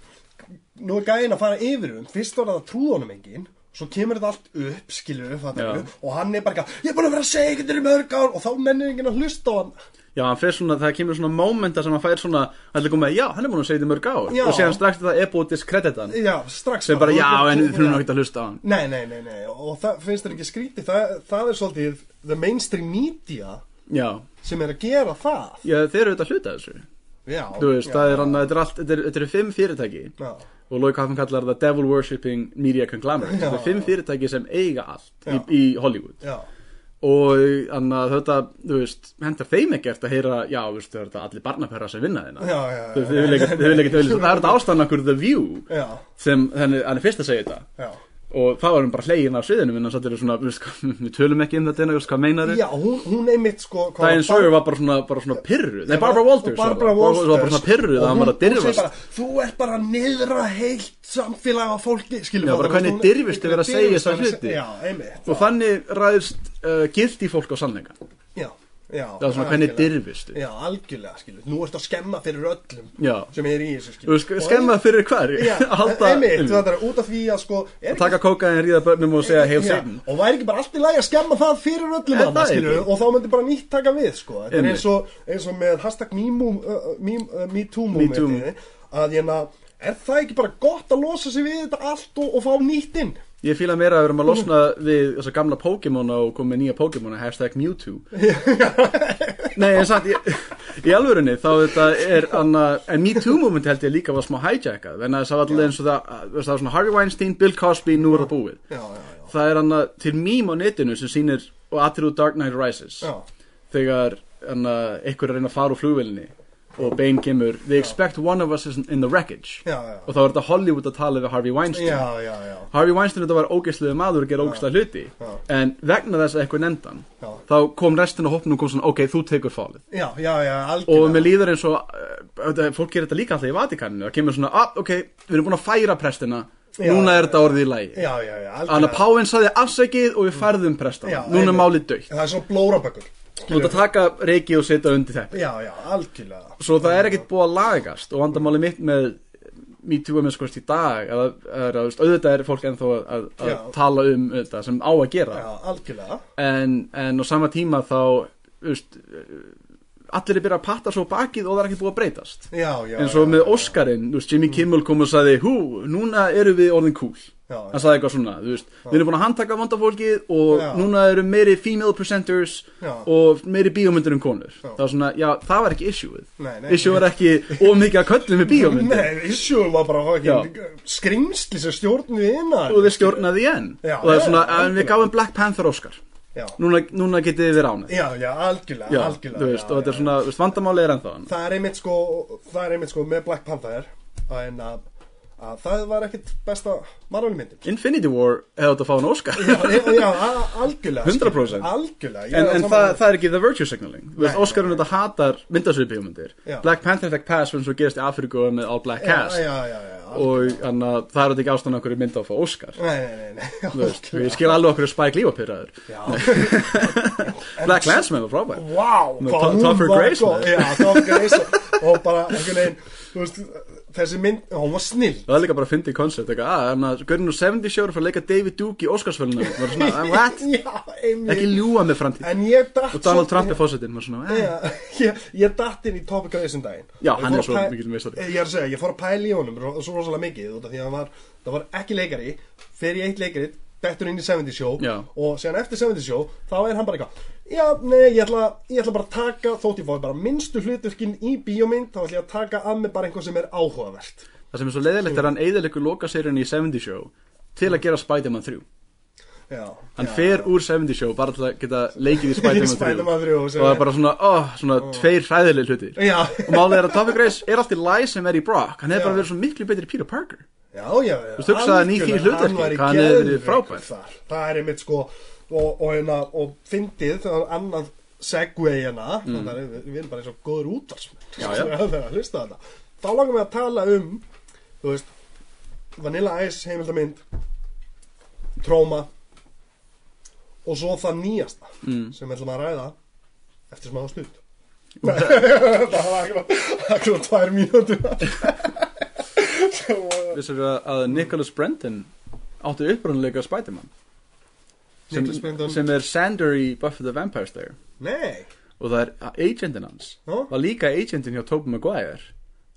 nú er gæin að fara yfir um fyrst var það að trúða honum engin svo kemur þetta allt upp skilur fattarðu, Já. og hann er bara eitthvað ég er búin að vera að segja eitthvað í mörg ár og þá mennir enginn að hlusta á hann Já, hann fer svona, það kemur svona mómenta sem hann fær svona, hann er komið, já, hann er búin að segja þetta í mörg ár Já. og síðan strax það er búið að diskredita hann já strax sem bara, já, þú- en þú- við þurfum já. ekki að hlusta á hann Nei, nei, nei, nei, og það finnst þér ekki skrítið, það, það er svolítið the mainstream media Já, sem er að gera það. já þeir eru auðvitað að hluta þessu Já, Þú veist, já, það er hann, þetta er allt, þetta er- þetta eru fimm fyrirtæki Já, og Lói Kaffin kallar það Devil Worshipping Media Conglomerate Þetta Já. eru fimm fyrirtæki sem eiga allt Já. í, í Hollywood já, og annað, þetta, þú veist, hendar þeim ekki eftir að heyra, já, þú veist, það eru þetta allir barnaperra sem vinna hérna. þeina Já, já, já. Þau- þau vilja ekkert- þau vilja ekkert auglýsa- Það er þetta ástæðan okkur The View já, sem, hann er- hann er fyrst að segja þetta já. og þá var hann bara hlegin af sviðinu en hann satt alveg svona, veist, [LAUGHS] hvað, við tölum ekki um þetta en veist, hvað meinar þið? Já, hún, hún einmitt sko... hvað Diane var- Sawyer var bara svona, bara svona pyrru Nei, Barbara Walters var Barbara það. Walters. Hún var bara svona pyrru og það hann var að hún- hún segir dirfast bara, Þú ert bara að niðra heilt samfélag á fólki, skilum Já, bara hvernig dirfist yfir að segja þessa hluti. Já, einmitt. og þannig ræðist uh, gildi fólk á sannleika það Já, já. var svona hvernig algjörlega. dirfistu Já, algjörlega, skilum. Nú ertu að skemma fyrir öllum Já, sem er í þessu, þú skilum. veist, skemma fyrir hver Já, [LAUGHS] halda, einmitt, einmitt. það er út af því að sko er Að taka kókaðin, ríða börnum og segja heil Já, satan og væri ekki bara allt í lagi að skemma það fyrir öllum Er hana, það skilur, ekki? og þá myndi bara nýtt taka við sko. þetta er Einmitt. eins og, eins og með hashtag MeToo Me Too. uh, að ég er það ekki bara gott að losa sig við þetta allt og, og fá nýtt inn Ég fíla meira að við erum að losna við þessa gamla Pokémon og koma með nýja Pokémon [LAUGHS] hashtag Mewtwo Nei, en satt, ég, í alvörunni þá þetta er anna, en MeToo moment held ég líka var smá hijackað en það var alltaf eins og það, það var svona Harvey Weinstein, Bill Cosby, nú er það búið já, já, já, Það er anna, til mím á netinu sem sýnir og atrið úr Dark Knight Rises já. þegar anna, einhver er að reyna að fara úr flugvelinni og Bane kemur They expect one of us is in the wreckage Já, já. og þá er þetta Hollywood að tala við Harvey Weinstein Já, já, já, Harvey Weinstein þetta var ógeðslega maður að gera ógeðslega hluti Já. en vegna þess að eitthvað nefndan Já. þá kom restin af hópnum og kom svona ok, þú tekur fálið já, já, já, algjörlega og mér líður eins og uh, þetta- fólk gerir þetta líka alltaf í Vatikaninu það kemur svona, ah, ok, við erum búin að færa prestina Já, núna já, er þetta orðið í lagi Já, já, já, algjörlega Þannig að Páinn sagði afsækið og við færðum prestan Já, núna er einmitt. málið dögt Það er svona blórabökkur þú ert að taka reiki og setja undir þeppi Já, já, algjörlega svo það er ekkert búið að lagast og vandamáli mitt með MeToo að minnskvist sko, í dag að, að, að, auðvitað er fólk ennþá að, að Já. tala um þetta sem á að gera Já, algjörlega en, en á sama tíma þá veist, allir er byrjað að patta svo á bakið og það er ekki búið að breytast Já, já eins og já, Mm. með já. Óskarinn, þú veist, Jimmy Kimmel kom og sagði hú, núna eru við orðin cool Já, hann sagði eitthvað svona, þú veist, við erum búin að handtaka vandafólkið og Já. núna eru meiri female presenters Já. og meiri bíómyndir um konur Já. það var svona, já, það var ekki issueð Nei, nei. issue var ekki of mikið að köllum með [LAUGHS] bíómyndir Nei, issue var bara Já. ekki, skrimsli sem stjórn við innan og þið stjórnaði í enn Já, og það er já, svona, algjörlega. en við gáum Black Panther Óskar Já, núna, núna getið þið verið ánægð já, já, algjörlega, Já, algjörlega þú veist, já, og þetta er já. svona, þú veist, vandamáli er ennþá hann. það er einmitt sko það er einmitt sko með Black Panther en að, hérna, að það var ekkit besta Marvel myndin Infinity War hefði átt að fá hann Óskar. já, já, a- algjörlega 100%. algjörlega ég En, er en sammála það, þér. það er ekki the virtue signaling. Þú veist, Nei, Óskarinn þetta hatar myndasviðbíómyndir. Já. Black Panther fekk pass fyrir eins og gerist í Afriku með all black cast. já, já, já, já, já. Og hann að það er þetta ekki ástæðan okkur í mynda að fá Óskar. nei, nei, nei, nei Þú veist, ég skil alveg okkur að Spike Lee var pyrraður. [LAUGHS] já, Black Landsman var frábær. wow Með Tom- Topher Grace, maður. já, Topher Grace og- og bara einhvern veginn þú veist, þessi mynd, hún var snill Það er líka bara að fyndi koncept, eitthvað, að, hann að, görinn úr 70 sjóru fyrir að leika David Duke í Óskarsfölunum. Það var svona, "Ah, what? [LAUGHS] já, Ekki einmitt ljúa með framtíð. en ég datt Og Donald svolítið- Trump er fósittinn, var svona, eh. Já, [LAUGHS] ég, ég datt inn í Topper Grace um daginn Já, Ég hann fór er að svo pæ- Eh, mikill meistari. Ég er að segja, ég fór að pæla í honum ro- svo rosalega mikið út af því að hann var, það var ekki leikari fer í eitt leikari, dettur inn í 70 show Já. og síðan eftir 70 show þá er hann bara eitthvað Já, nei, ég ætla, ég ætla bara að taka, þótt ég fóði bara minnstu hluturkinn í bíómynd þá ætla ég að taka að mig bara einhver sem er áhugavert Það sem er svo leiðilegt er að hann eðilegur lokaserjunni í 70 Show til að gera Spider-Man 3 Já, Hann já, fer já. úr 70 Show bara til að geta [LAUGHS] leikið í Í Spider-Man 3 Spider-Man 3 og og sem það er- er bara svona, oh, svona tveir hræðileg hlutir Já. og málið er að Topher Grace er allt í læg sem er í Brock hann hefur bara Já. verið svo miklu betri Peter Parker Já, já, já. Þú veist, hugsaðu hann í því Algjörlega, hlutverki, var í hvað hann hefði verið geðveikur frábær. þar. Það er einmitt sko, og, og, hérna, og fyndið, það er annað segway hérna, mm. þannig að við, við erum bara eins og góður útvarsmenn. Já, [LAUGHS] já. Það er að hlusta þetta. Þá langar við að tala um, þú veist, Vanilla Ice heimildamind, Tróma, og svo það nýjasta mm. sem við ætlum að ræða eftir smá stund. [LAUGHS] það var akkur tvær mínútur. Vissar við að Nicholas Brenton átti upprunalega Spider-Man sem, Nicholas Brenton. sem er Sander í Buffy the Vampire Slayer Nei, og það er að agentin hans Já. var líka agentin hjá Tobey Maguire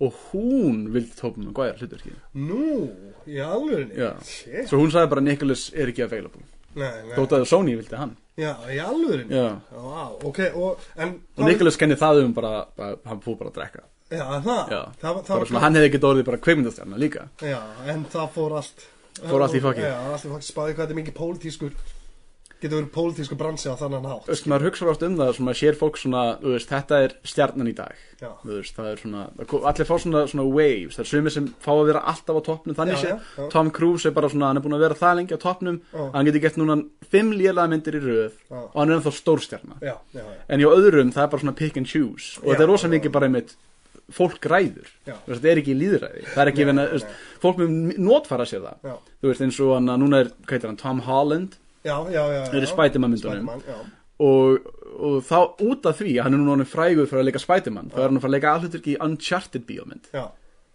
og hún vildi Tobey Maguire hluturkið nú, í alvörinni? Já. Shit. Svo hún sagði bara Nicholas er ekki available Nei, nei. Þótt að Sony vildi hann Já, í alvörinni? Já. Vá, ok, og, en... Og Nicholas kenni það um bara, bara hann fór bara að drekka Já, það. Já, Það, var- það bara var... svona hann hefði ekki dórið bara kveimundastjarnar líka Já, en það fór allt... Fór allt í fokkið. Já, allt í fokkið. Spáði hvað þetta er mikið pólitískur... Getur verið pólitískur bransi á þannan hátt. Þú veist, maður hugsa rátt um það sem maður sér fólk svona, þú veist, þetta er stjarnan í dag Já. Þú veist, það er svona, það ko- allir fá svona, svona waves Það er sumir sem fá að vera alltaf á toppnum þannig Já, sé já, já. Tom Cruise er bara svona, hann er búin að vera það lengi á toppnum Já. að Hann getur gett núna fimm lélega myndir í röð Já. Og hann er ennþá stórstjarnar Já, já, já. en hjá öðrum það er bara svona pick and choose og Já, þetta er rosa já. mikið bara einmitt fólk ræður Já. Þú veist, þetta er ekki líðræði það er ekki venna, þú veist, fólk með notfara sér það Já. þú veist eins og hann að núna er hvað heitir hann, Tom Holland Já, já, já. Það eru já. Spiderman myndunum. Spiderman, já. og, og þá út af því að hann er núna orðinn frægur fyrir að leika Spiderman þá er hann að fara að leika allhutur í Uncharted bíómynd Já,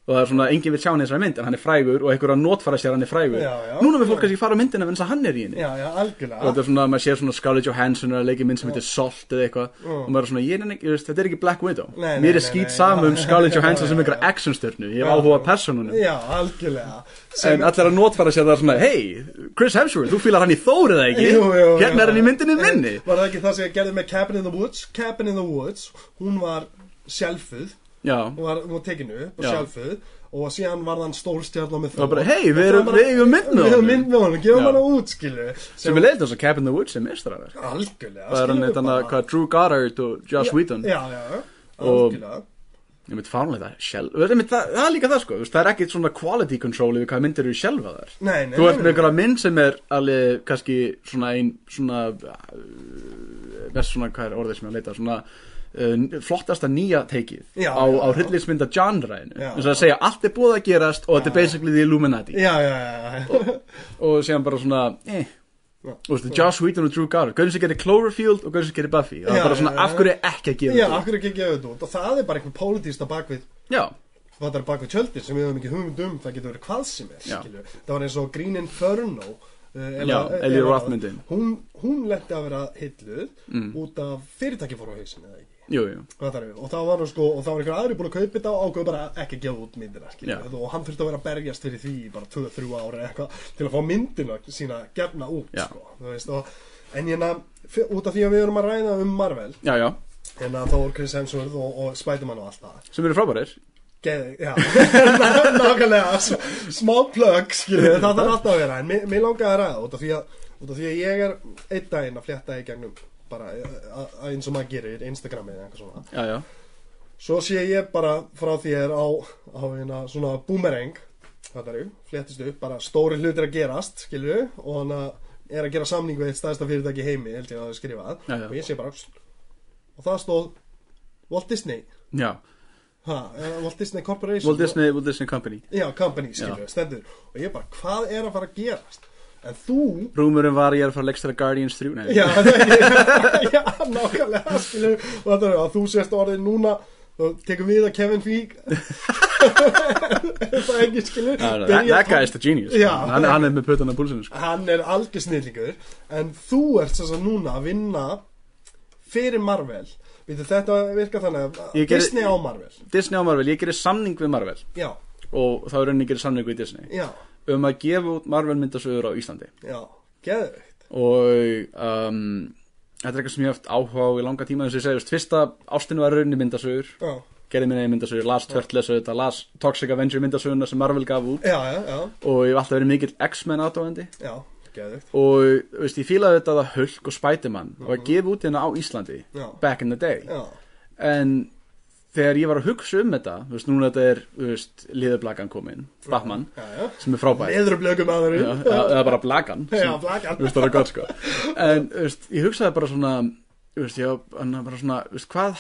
og það er svona, enginn vil sjá hann í þessari mynd en hann er frægur og einhverja notfæra sér að hann er frægur Já, já. núna vil fólk kannski fara á myndina vegna þess að hann er í henni já, já, og þetta algjörlega er svona, maður sér svona Scarlett Johansson að leiki mynd sem heitir Salt eða eitthvað Já. og maður er svona, ég er enn ekki, þú veist, þetta er ekki Black Widow Nei, nei, mér nei, er skýt nei. saman um Já, Scarlett Johansson sem já, já. einhverja actionstörnu ég Já. hef áhuga á personunum já, algjörlega en allir að notfæra sér það svona hei, Chris Hemsworth, þú fílar hann í Þórið eða ekki Jú, jú, jú, hérna er jú. Eh, hann í myndinni minni var það ekki það sem ég gerði með Cabin in the Woods Cabin in the Woods, hún var sjálfuð, já, hún var, hún var tekinu upp og Já. sjálfuð og síðan var hann stórstjarn á með og bara hei, við erum bara- við eigum mynd með við höfum honum. mynd með honum, gefum Já. hann út skilu sem við leiðum þess að Cabin in the Woods er mistrar algjörlega það er hann skilum við eitt annað, bara. hvað, Drew Goddard og Josh Whedon já, já, já, Og- algjörlega ég myndi fárlega það, sjálf, það, einmitt það, það er líka það sko, þú veist, það er ekkit svona quality control yfir hvað myndir eru sjálfa þar Nei, nei, þú nei, ert með nei. einhverja mynd sem er alveg kannski svona ein svona uh, best svona, hvað er orðið sem ég er að leita svona uh, flottasta nýja teikið Já, á, já, á já. hryllingsmynda genreinu Já. þess að segja allt er búið að gerast og þetta er basically the Illuminati já, já, já, já. og síðan bara svona eh, Já. Þú veist, Josh Whedon og Drew Goddard Gauðin sem gerir Cloverfield og gauðin sem gerir Buffy Það Já, er bara svona, já, já. af hverju ekki að gera já, þetta? akkur ekki að gefa þetta út og það er bara einhver pólitísta bakvið Já, hvað það er bak við tjöldin sem við höfum ekki hugmynd um það getur verið hvað sem er Já. skilju. það var eins og Green Inferno uh, Já, eh, Eli eða- Roth myndin. hún, hún lendi að vera hilluð Mm. út af fyrirtæki fór á hausin eða ekki jú, jú Hvað þarf við? og þá var hann sko og þá var einhver aðri búin að kaupa þetta og ákveð bara ekki að gefa út myndina skilju. Já. og hann þurfti að vera að berjast fyrir því í bara 2-3 ára eitthvað til að fá myndina sína gefna út Já. sko, þú veist, og, en ég nefn út af því að við erum að ræða um Marvel Já, já, en að þá voru Chris Hemsworth og, og Spiderman og allt það sem eru frábærir Geðið, já, [LAUGHS] nákvæmlega, s- smá plug, skilju, það þarf alltaf að vera, en mér, mér langaði að ræða út af því að, út af því að ég er einn daginn að flétta í gegnum, bara a- a- eins og maður gerir, Instagramið eða eitthvað svona. Já, já, Svo sé ég bara frá því ég er á, á hérna svona boomerang, þetta eru, fléttist upp, bara stóri hlutir að gerast, skilju, og hann að er að gera samning við eitt staðista fyrirtæki í heimi, held ég að það er skrifað, Já, já. og ég sé bara, og það stóð Walt Disney, já ha, eh, Walt Disney Corporation. Walt Disney, Walt Disney Company Já, company, skilur við, stendur Og ég bara, hvað er að fara að gerast? En þú Rúmurinn var ég er að fara að leggstæra Guardians 3 Nei, Já, [LAUGHS] já nákvæmlega, skilur við Og þetta er að þú sést orðin núna Þú tekur við að Kevin Feig Það [LAUGHS] er ekki, skilur Ah, no, that, byrjar that tón- guy is the genius Já. hann, hann er með pötan af púlsinu sko. Hann er algjör snillingur En þú ert þess að núna að vinna Fyrir Marvel Veitu, þetta virkar þannig að Ég gerði- Disney á Marvel Disney á Marvel, ég gerir samning við Marvel Já, og þá er rauninni gerir samning við Disney já, um að gefa út Marvel myndasögur á Íslandi já Geðveikt og um, þetta er eitthvað sem ég hef haft áhuga á í langa tíma þess að ég segi, þú veist, fyrsta ástinu var í rauninni myndasögur Já, gerði minni myndasögur, las tvört lesa þetta las Toxic Avenger myndasöguna sem Marvel gaf út já, já, já, og ég hef alltaf verið mikill X-Men aðdóðandi já Geðveikt og þú veist, ég fílaði þetta að Hulk og Spiderman Mhm. mm var að gefa út hérna á Íslandi Já. back in the day Já, en þegar ég var að hugsa um þetta þú veist, núna þetta er þú veist, liðablakan komin, Batman já, já sem er frábær Leðurblökum aðurum Já, eða eða bara blakan Já, sem- blakan. þú veist, það er gott sko en þú veist, ég hugsaði bara svona þú veist, já, bara svona þú veist, hvað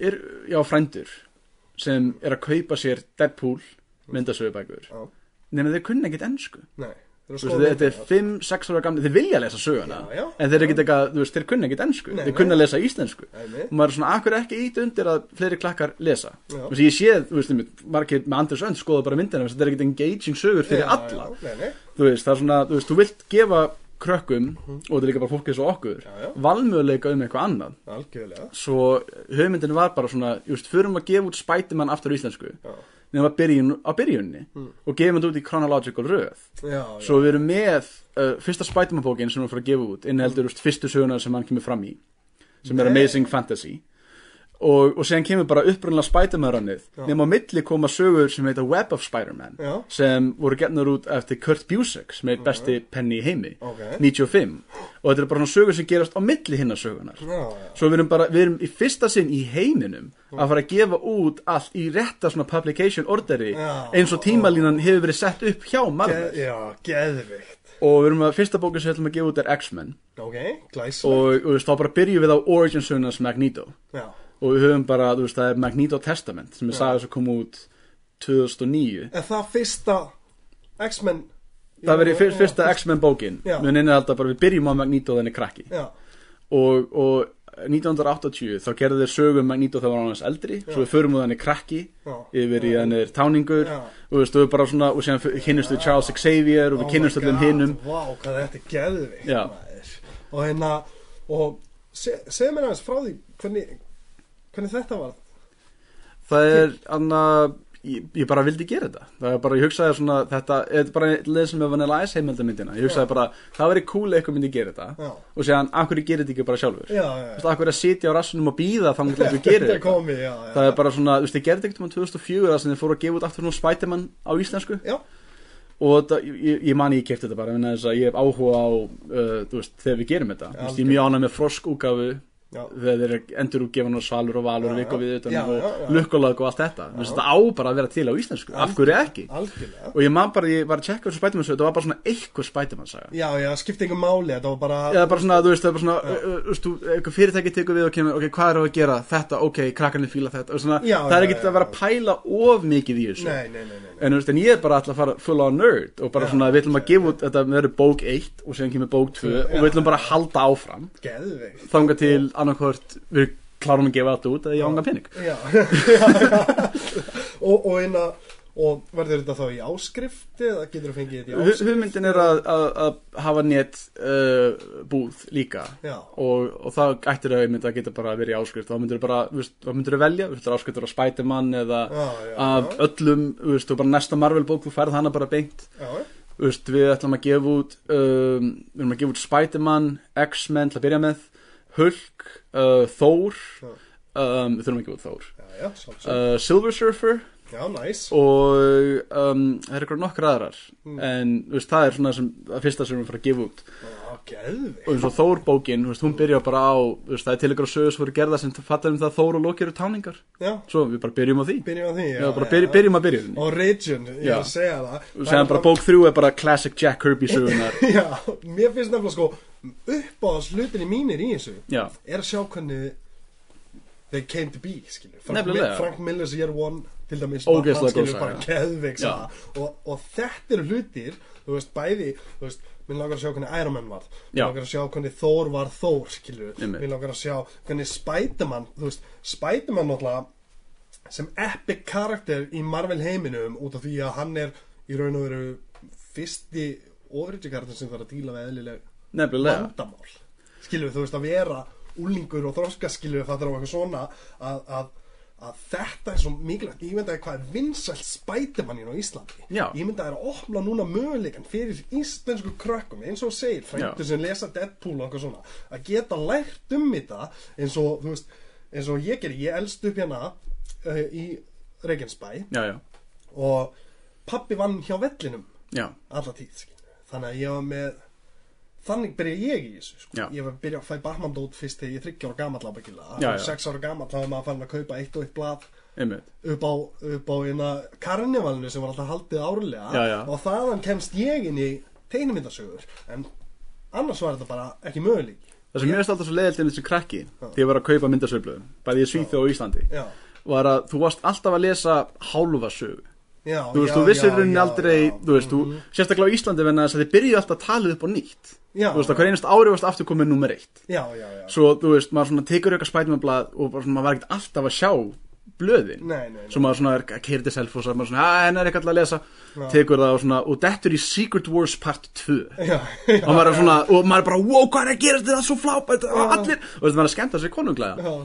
er, já, frændur sem er að kaupa sér Deadpool myndasögubækur Já. nema þeir kunna ekkert ennsku Nei, þeir eru Þú sko veist, þetta er 5-6 ára gamli, þeir vilja lesa söguna Já, já. en þeir, eru ekkert eitthvað, þú veist, þeir kunna ekkert ennsku Nei, þeir nei. kunna að lesa íslensku Einmitt. og maður er svona, akkur ekki ít undir að fleiri klakkar lesa Já. Þú veist, ég sé, þú veist, einmitt, margir með Anders Önd skoða bara myndina, þú veist, þetta er ekkert engaging sögur fyrir alla já, Nei, nei, þú veist, það er svona, þú veist, þú vilt gefa krökkum, og þetta er líka bara fólk eins og okkur Já, já. valmöguleika um eitthvað annað algjörlega svo höfmyndin var bara svona, þú veist, förum að gefa út Spiderman aftur á íslensku Já, nema byrjun, á byrjunni og gefum þetta út í chronological röð já, já, Svo við erum með uh, fyrsta Spiderman bókin sem við erum að fara að gefa út inniheldur mm. fyrstu söguna sem hann kemur fram í sem er Nei. Amazing Fantasy og, og síðan kemur bara upprunnilega Spiderman-rannið Já. nema á milli koma sögur sem heita Web of Spider-Man Já. sem voru getnar út eftir Kurt Busiek sem er besti penni í heimi Ok. 95 og þetta er bara svona sögur sem gerast á milli hinna sögunar já, já Svo við erum bara, við erum í fyrsta sinn í heiminum að fara að gefa út allt í rétta svona publication orderi Já. eins og tímalínan hefur verið sett upp hjá Marvel Geð, Já, geðvikt og við erum að fyrsta bókin sem við ætlum að gefa út er X-Men Ok, glæs og og þú veist, þá bara byrjum við á origin sögnans Magneto Já, og við höfum bara, þú veist, það er Magneto Testament sem er sagði sem kom út 2009 en það fyrsta X-Men það verið fyr, fyrsta X-Men bókin Já. mun innihalda bara við byrjum á Magneto þenni krakki Já, og, og 1980 þá gerðu þeir sögum Magneto þegar hann var hans eldri svo við förum úr þannig krakki Já. yfir í þannig táningur Já. og veist, og við bara svona, og síðan kynnumst við Charles Xavier Oh og við kynnumst öllum hinnum Vá, hvað þetta er geðvikt Já. maður. Og hérna Og se, segðu mér aðeins frá því Hvernig, hvernig þetta var það er anna, ég, ég bara vildi gera þetta það er bara, ég hugsaði svona þetta, þetta er bara leið sem er Vanilla Ice heimildamyndina ég hugsaði bara, það væri cool að eitthvað myndi gera þetta Já. og síðan, akkur gerir þetta ekki bara sjálfur Já, já, já. Þú veist, akkur að sitja á rassunum og býða þá myndi þú [LAUGHS] gerir Þetta þetta komi, já, já það er bara svona, þú veist, ég gerði þetta ekkert um 2004 þar sem þið fóru að gefa út aftur nú Spiderman á íslensku Já, og þetta, ég, ég man ég kefti þetta bara vegna þess að ég hef áhuga á, uh, þú veist, þegar við gerum þetta, þú veist, ég er mjög ánæg með froskúgafu já, þegar þeir eru endur útgefan og svalur og valur og Já, vik og já. við utan Já, já, já. og lukkulag og allt þetta, þú veist, þetta á bara að vera til á íslensku, af hverju ekki? algjörlega Og ég man bara, ég var að checka þessu Spiderman sög, þetta var bara svona eitthvað Spiderman saga Já, já, skipti ykkur máli Þetta var bara eða bara svona, þú veist, það er bara svona ö, ö, þú veist, þú- eitthvað fyrirtæki tekur við og kemur, ok, hvað er að gera þetta, ok, krakkarnir fíla þetta og svona, Já, það er já, ekkert já, að vera já. að pæla of mikið í þessu Nei, nei, nei, nei, nei. en, þú veist, en ég er bara alltaf að fara full on nerd og bara Já. svona, við ætlum að gefa út, þetta verður bók 1 og síðan kemur bók 2 og Já. við ætlum bara að halda áfram Geðvikt þanga til annarkvort við klárum að gefa þetta út eða ég ánga pening Já, [LAUGHS] já, já Og, og einna Og verður þetta þá í áskrift Eða getur þú fengið þetta í Hu- áskrift hugmyndin er að, að, að hafa net uh, búð líka Já. og, og það ættir að mynda að geta bara að vera í áskrift þá myndir þú bara, þú veist, þá myndir þú velja þú veist, áskriftur á Spiderman eða Já, já, af já. öllum, þú veist, og bara næsta Marvel bók þú færð hana bara beint Já, já, Þú veist, við ætlum að gefa út um, við ætlum að gefa út Spiderman, X-Men til að byrja með, Hulk uh, Thor Já. um, við þurfum að gefa út Thor já, já, sjálfsög uh, Silver Surfer Já, næs og um, það eru ykkur nokkur aðrar Mm. en þú veist, það er svona sem, það fyrsta sem við fyrir að gefa út Já, geðvikt og eins og Þór bókin, þú veist, hún byrjar bara á þú veist, það er til ykkur sögur sem voru gerða sem fattar um það að Þór og Loki eru táningar Já, svo við bara byrjum á því byrjum á því já, bara byrjum, byrjum að byrjum Og Region, ég Já. er að segja það og segja bara bók þrjú er bara classic Jack [LAUGHS] Kirby sögunar Já, mér finnst nefnilega sko uppáðas hlutinni mínir í þessu já, er að sjá hvernig they came to be, skilju Frank, Nefnilega. Mi- Frank Miller's Year One til dæmis, hann, Ógeðslega skilju, góð saga. bara geðveik Já. saga. og, og þetta eru hlutir þú veist, bæði, þú veist minn langar að sjá hvernig Iron Man var minn Já. langar að sjá hvernig Thor var Thor, skilju Einmitt. minn langar að sjá hvernig Spiderman þú veist, Spiderman náttúrulega sem epic karakter í Marvel heiminum út af því að hann er í raun og veru fyrsti ofriðsikarakter sem þarf að díla við eðlileg nefnilega vandamál skilur þú veist að vera úlingur og þroska skilur það þarf eitthvað svona að, að, að þetta er svo mikilvægt ég myndaði hvað er vinsælt spætimanninn á Íslandi Já. ég myndaði að opna núna möguleikan fyrir íslensku krökkum eins og þú segir frændur Já. sem lesa Deadpool og eitthvað svona að geta lært um þetta eins og þú veist eins og ég ger ég elst upp hérna uh, í Regensbæ já, já, og pappi vann hjá vellinum já, alla tíð skilur. þannig að ég var með þannig byrja ég í þessu sko. Já. ég var að byrja að fæ Batman dót fyrst þegar ég er 30 ára gamall ábyggilega Já, og já. 6 ára gamall þá er maður farin að kaupa eitt og eitt blad einmitt upp á, upp á eina karnivalinu sem var alltaf haldið árlega Já, já. og þaðan kemst ég inn í teinumindasögur en annars var þetta bara ekki möguleik það sem mér finnst alltaf svo leiðilt um þessi krakki því ég var að kaupa myndasöflöðum, bæði í Svíþjóð og Íslandi já, var að þú varst alltaf að lesa hálfa sögu já, þú veist, já, þú já, vissir rauninni já, aldrei já. Mhm. þú veist, þú, sérstaklega á Íslandi venna þess að þið byrjuðu alltaf að tala upp á nýtt Já. þú veist, að hver einast ári varst aftur komið nummer eitt já, já, já, svo, þú veist, maður svona tekur eitthvað spætumblað og bara svona, maður var ekkert alltaf að sjá blöðin Nei, nei, nei. svo maður svona er að keira til self og svo er maður svona, að henn er eitthvað að lesa Já. tekur það og svona, og dettur í Secret Wars part 2 já, [LAUGHS] já, og maður er svona, og maður er bara, wow, hvað er að gerast þetta er svo flábært, og allir, og þú veist, maður er að skemmta sér konunglega,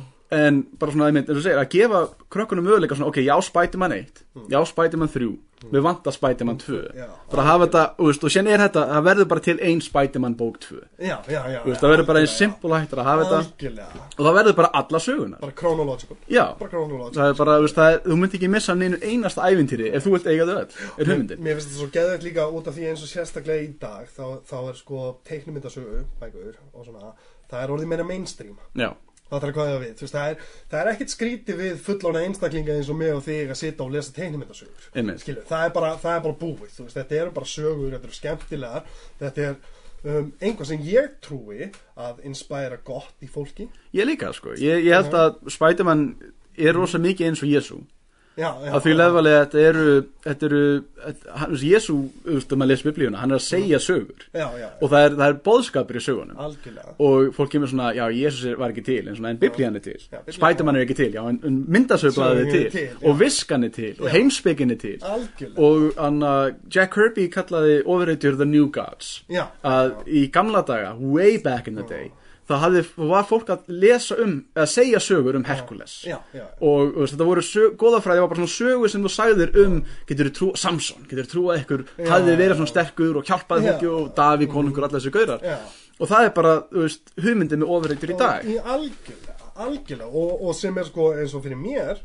en bara svona, einmitt, eins og þú segir, að gefa krökkunum möguleika svona, ok, já, Spiderman 1, já, Spiderman 3 við vantar Spiderman 2 Mm. Já. bara hafa þetta, og þú veist, og sérna er þetta það verður bara til ein Spiderman bók 2 þú já, já, já veist, það verður bara eins simpul hægt að hafa þetta algjörlega, og það verður bara alla sögunar bara chronological já, bara chronological það er bara, þú veist, það er, þú mynd ekki missa neinu einasta ævintýri ef þú vilt eiga þau öll, er hugmyndin Mér finnst þetta svo geðvegt líka út af því eins og sérstaklega í dag þá, þá er sko teiknumyndasögu bækur og svona, það er orðið meira mainstream já, það þarf að kvæða við, þú veist, það er, það er ekkert skrítið við fullóna einstaklinga eins og mig og þig að sitja og lesa teiknumyndasögur Einmitt. Skilur, það, er bara, það er bara búið, þú veist, þetta eru bara sögur þetta eru skemmtilegar, þetta er um, einhvað sem ég trúi að inspæra gott í fólki ég líka, sko ég, ég held að Spiderman er rosa mikið eins og Jésu já, já, að því lefali að þetta eru þetta eru, þetta- hann- þú veist, Jésu auðvitað maður les biblíuna, hann er að segja sögur já, já, og það er, það er boðskapur í sögunum algjörlega og fólk kemur svona, já, Jésus er- var ekki til en, svona, en biblían er til, Já, biblían- spætumann er ekki til já, en, en myndasögblaðið Sögin er er til til, já. og viskan er til og Já. heimspekin er til algjörlega og hann að Jack Kirby kallaði ofurreitjur The New Gods Já. að í gamla daga, way back in the day það hafði, var fólk að lesa um að segja sögur um Herkules Já, já. og þú veist, þetta voru sög, góðafræði var bara svona sögur sem þú sagðir um getur þú trú, Samson, getur þú trúað ykkur hafði verið svona sterkur og Já. hjálpaði Mm. fólki og Daví konungur, allar þessu gaurar Já. og það er bara, þú veist, hugmyndið með ofurreitjur í dag í algjörlega, algjörlega og, og sem er sko eins og fyrir mér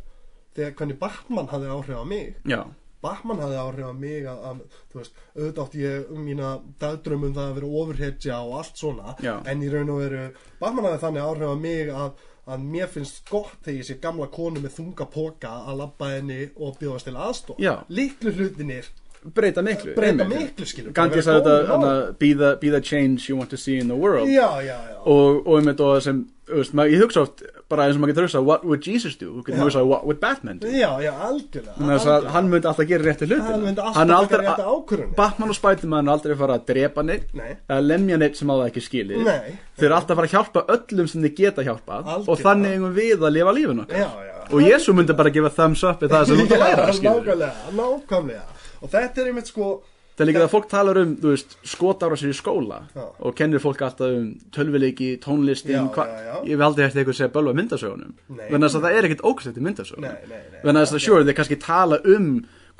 þegar hvernig Batman hafði áhrif á mig já, Batman hafði áhrif á mig að, að þú veist, auðvitað átti ég um mína dagdrömmum það að vera ofurhetja og allt svona Já. en í raun og veru Batman hafði þannig áhrif á mig að, að mér finnst gott þegar ég sé gamla konu með þunga poka að labba henni og bjóðast til aðstof Já. litlu hlutinir breyta miklu Breyta einmitt. miklu, skilur, bara Gandhi vera sagði góður þetta, hann að be, the- be the change you want to see in the world já, já, já, og, og um þetta og sem þú veist, maður, ég hugsa oft bara eins og maður getur hugsað what would Jesus do, þú getur Já. hugsað what would Batman do já, já, algjörlega Þannig að algjörlega. hann myndi alltaf gera rétti hluti Hann myndi alltaf taka réttu ákvörðunina. Batman og Spiderman er aldrei fara að drepa neitt Nei. eða lemja neitt sem á það ekki skilið Nei. þeir eru alltaf að fara að hjálpa öllum sem þið geta hjálpað og Algjörlega. þannig eigum við að lifa lífin okkar já, já. og Jésu myndi bara gefa thumbs up í það sem þú ert [LAUGHS] að læra skilurðu. nákvæmlega, nákvæmlega og þetta er einmitt sko Það er líka það að fólk talar um, þú veist, skotára sér í skóla Já. og kennir fólk alltaf um tölvileiki, Já, tónlistin, já, já. ég hef aldrei hægt eitthvað að segja bölva myndasögunum. Nei. Þannig að það er ekkert ógæslegt í myndasögunum. Nei, nei, nei. Þannig að það, sure, þeir kannski tala um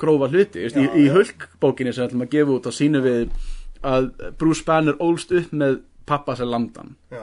grófa hluti, þú Já, veist, í, í já. hulkbókinni sem við ætlum að gefa út og sínu við að Bruce Banner ólst upp með pappa sem landan. já,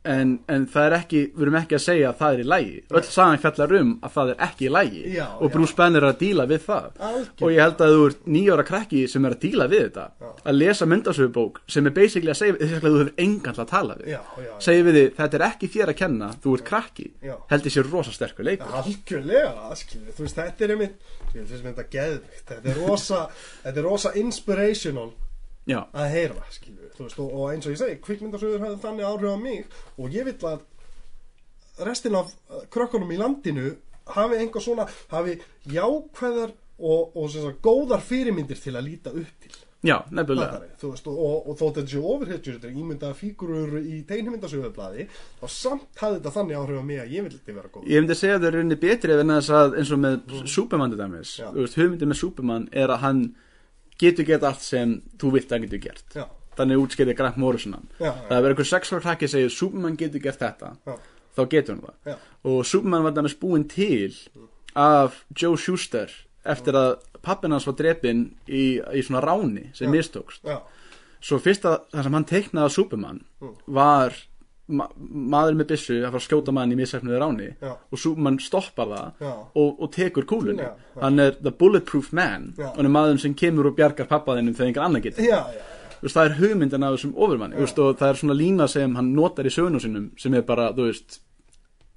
En, en það er ekki, við erum ekki að segja að það er í lægi. Öll sagan fjallar um að það er ekki í lægi Já, og já. Bruce Banner er að díla við það Algjörlega. og ég held að þú ert nýjóra krakki sem er að díla við þetta að lesa myndasöfubók sem er basically að segja þess að þú hefur engan til að tala við Já, já, já. segja við þið, þetta er ekki þér að kenna þú ert krakki, Já. held ég sér rosa sterkur leikur algjörlega skilur, þú veist, þetta er einmitt skilur, þú veist, þetta er geðvikt, þetta er rosa [LAUGHS] þetta er rosa inspirational já, að heyra, skilur, þú veist, og, og eins og ég segi kvikmyndasögur hafði þannig áhrif á mig og ég vill að restin af uh, krökkunum í landinu hafi einhver svona, hafi jákvæðar og, og sem sagt, góðar fyrirmyndir til að líta upp til já, nefnilega Fattarðu? þú veist, og, og, og þó þetta séu ofurhetjur þetta er ímyndaða fígurur í teinhimyndasögublaði þá samt hafði þetta þannig áhrif á mig að ég vildi vera góð ég myndi að segja að það er rauninni betri ef en þess að eins og með Superman til dæmis, Mhm. Já. þú veist, hugmyndin með Superman er að hann getur gett allt sem þú vilt að hann getur gert Já. þannig útskeiði Grant Morrisonan Já, já. það er einhver sexuál krakki að segja Superman getur gert þetta Já. þá getur hann það Já. og Superman var dæmis búinn til af Joe Schuster eftir að pappin hans var drepinn í, í svona ráni sem mistókst Já, svo fyrsta það sem hann teiknaði af Superman var ma maður með byssu að fara að skjóta mann í missefnuði ráni Já. og Superman stoppar það Já. og, og tekur kúlunni Já, já. hann er the bulletproof man Já. hann er maður sem kemur og bjargar pappaðinum þegar einhver annar getur já, já, Þú veist, það er hugmyndin af þessum ofurmanni þú veist, og það er svona lína sem hann notar í sögunum sínum sem er bara, þú veist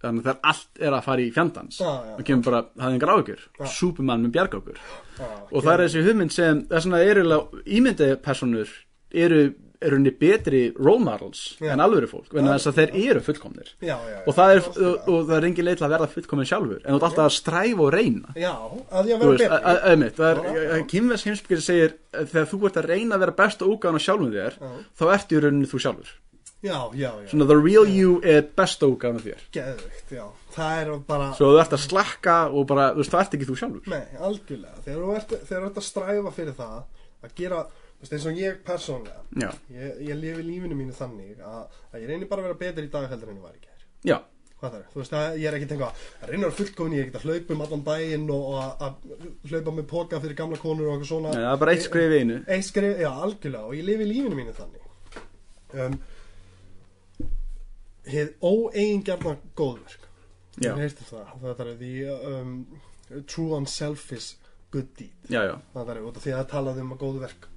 þannig að það er allt er að fara í fjandans Já, já, og kemur bara, það er engar áhugur Superman með bjarga okkur já, og það er þessi hugmynd sem, það er svona erilega ímyndapersonur eru eru henni betri role models Já. en alvöru fólk, vegna þess að þeir eru fullkomnir já, já, já og það er, algjörlega. og, og það er engin leið til að verða fullkomin sjálfur, en þú ert alltaf að stræfa og reyna Já, að ég Þú vera veist, betri að- að- einmitt, Já, það er, e- já. kynves heimsbyggir segir að þegar þú ert að reyna að vera best og úgáðan á sjálfum þér þá ertu í rauninni þú sjálfur Já, já, já, svona the real you er best og úgáðan á þér geðvikt, já Það er bara, svo þú ert að slakka og bara, þú veist, það ert ekki þú sjálfur nei, algjörlega Þegar þú ert, þegar þú ert að stræfa fyrir það að gera, þú veist, eins og ég persónlega já, ég, ég lifi lífinu mínu þannig að, að ég reyni bara að vera betri í dag heldur en ég var í gær já, Hvað það er? Þú veist að ég er ekkert eitthvað að reyna að vera fullkomin, ég er ekkert að hlaupa um allan bæinn og og að, að hlaupa með póka fyrir gamla konur og eitthvað svona. Nei, það er bara eitt skrif í einu Eitt skrif, já, algjörlega og ég lifi lífinu mínu þannig. Um, hið óeigingjarnar góðverk. já, Ég heist það, það er því um, true unselfish good deed já, já, það er út af því að það talaði um að góðu verk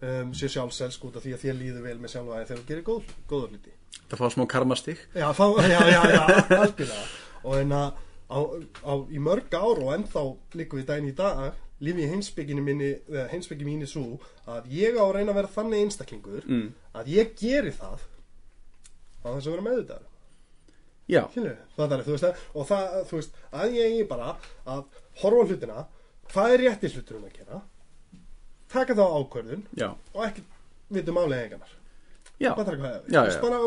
um, sé sjálfselsk út af því að þér líður vel með sjálfa þegar þú gerir góð, góða hluti það fá smá karmastík já, þá, já, já, já, algjörlega og en að á, á, í mörg ár og ennþá líkum við dæn í dag lifi í heimsbygginu minni eða heimsbyggi mínu svo að ég á að reyna að vera þannig einstaklingur Mm. að ég geri það á þess að vera meðvitaður já, Skilur, það er, þú veist, að- og það, þú veist, að ég eigi bara að horfa á hlutina, hvað er rétti hluturinn að gera, taka þá ákvörðun já, og ekki um vitum afleggingarnar. já, Bara taka það. Já, Þú veist, já. Bara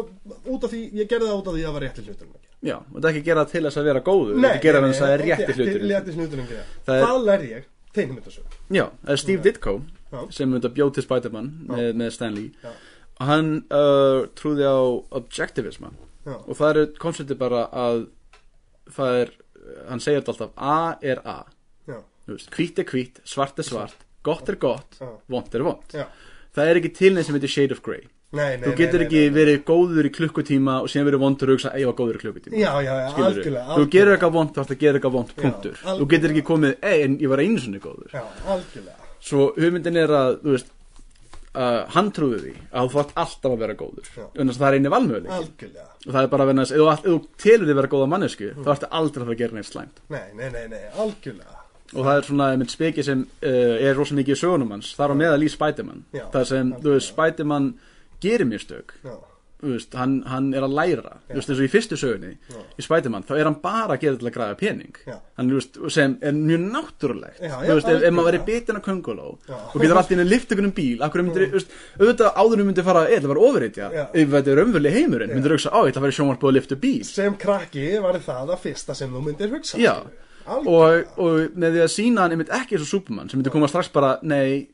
út af því, ég gerði það út af því að það var rétti hluturinn að gera. já og þetta ekki gera til þess að vera góður þetta gera þess að það er rétti hlutur Rétti hluturinn að gera. Það er- Það lærði ég, tegnum þetta svo. já, það er Steve Ditko Já. sem mynda bjóð til Spider-Man með, með Stan Lee Já. og hann uh, trúði á objectivisma Já, og það er konceptið bara að það er, hann segir þetta alltaf A er A, já, þú veist, hvít er hvít svart er svart, gott er gott já, vond er vond já. það er ekki til neins sem heitir shade of grey Nei, nei, þú nei, getur nei, ekki nei. verið góður í klukkutíma og síðan verið vondur og hugsa að ég var góður í klukkutíma Já, já, já, Skilurðu? algjörlega. þú algjörlega. gerir eitthvað vond þá ætti að gera eitthvað vond Já, punktur þú algjörlega. getur ekki komið ei en ég var einu sinni góður Já, algjörlega. svo hugmyndin er að þú veist Uh, hann trúði því að þú þátt alltaf að vera góður Já. þannig að það er eini valmöðuleik Algjörlega. og það er bara að vinna þess ef þú allt- ef þú telur þig vera góða mannesku þá ertu aldrei að fara að gera neitt slæmt Nei, nei, nei, nei, algjörlega. og það er svona mynd speki sem uh, er rosa mikið í sögunum hans þar á meðal í Spiderman Já. það sem, þú veist, Spiderman gerir mistök Já, þú veist, hann, hann er að læra þú veist, eins og í fyrstu sögunni Já. í Spiderman, þá er hann bara að gera til að græða pening Já. hann, þú veist, sem er mjög náttúrulegt Já, já, þú veist, ef, ef algjörlega. maður væri bitin af könguló Já. og getur allt í henni lift ykkur um bíl akkur myndir, þú veist, auðvitað áður myndi fara eða var ofurreitja, Já. ef þetta er umvölu heimurinn myndir hugsa, á, ég ætla að fara í sjónvarpið og lifta bíl sem krakki var það að fyrsta sem þú myndir hugsa Já. Algjörlega. og, og með því að sína hann einmitt ekki eins og Superman sem myndi koma strax bara nei,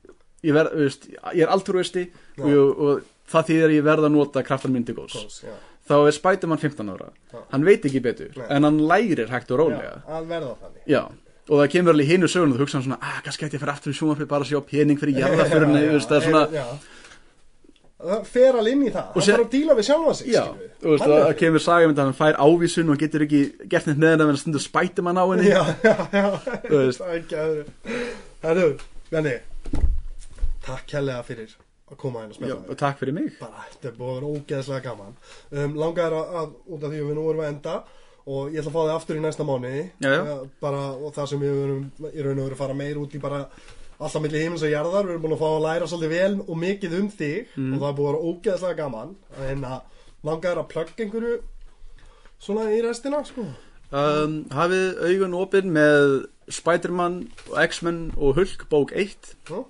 ég, ver, þú veist, ég er altruisti og, og, og það þýðir að ég verð að nota kraftan myndi góðs Góðs, já. þá er Spiderman 15 ára hann veit ekki betur, Nei. en hann lærir hægt og rólega já, að verða þannig og það kemur alveg í hinu söguna og þú hugsa hann svona, að kannski ætti ég að fara aftur í sjónvarpið bara að sjá pening fyrir jarðaförunni þú veist, það er svona [LAUGHS] já. það fer alveg inn í það Og hann sér- þarf að díla við sjálfa sig Já, skilurðu. þú veist, Hann það er- það kemur saga mynd að hann fær ávísun og getur ekki gert neitt með henni en stundur Spiderman á henni já, já, já Þú veist. það er ekki aðri herru, Janni takk kærlega fyrir að koma hérna og Já, spila og takk fyrir mig bara, þetta er búið að vera ógeðslega gaman um, langar að, að, út af því að við nú erum að enda og ég ætla að fá þig aftur í næsta mánu Já, já. bara og það sem við erum í raun og veru að fara meir út í bara alltaf milli heimins og jarðar, við erum búin að fá að læra svolítið vel og mikið um þig Mm. og það er búið að vera ógeðslega gaman en að langar að plugga einhverju svona í restina sko um, Hafið augun opinn með Spider-Man og X-Men og Hulk bók 1 Nú?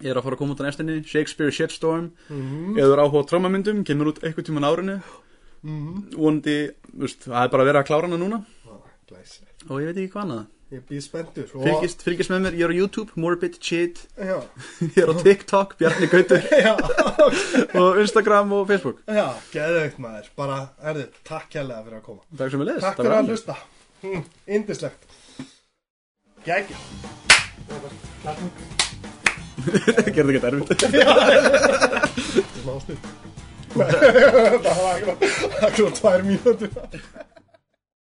Ég er að fara að koma út á næstinni Shakespeare Shitstorm Mhm. mm. Eða þú er áhuga á trómamyndum, kemur út eitthvað tíman árinu Mhm. mm. Vonandi, þú veist, það er bara að vera að klára hana núna Á, glæsilegt. Og ég veit ekki hvað annað ég býð spenntur og, Fylgist, fylgist með mér, ég er á YouTube, Morbid Chid já, [LAUGHS] [LAUGHS] Ég er á TikTok, Bjarni [LAUGHS] Gautur já, [LAUGHS] Og Instagram og Facebook já, geðveikt maður bara, herðu, takk kærlega fyrir að koma Takk sem við leist Takk fyrir að hlusta Mm, Yndislegt Gækja [LAUGHS] Gerði ekki erfitt [LAUGHS] Smástuð Það var akkur tvær mínútur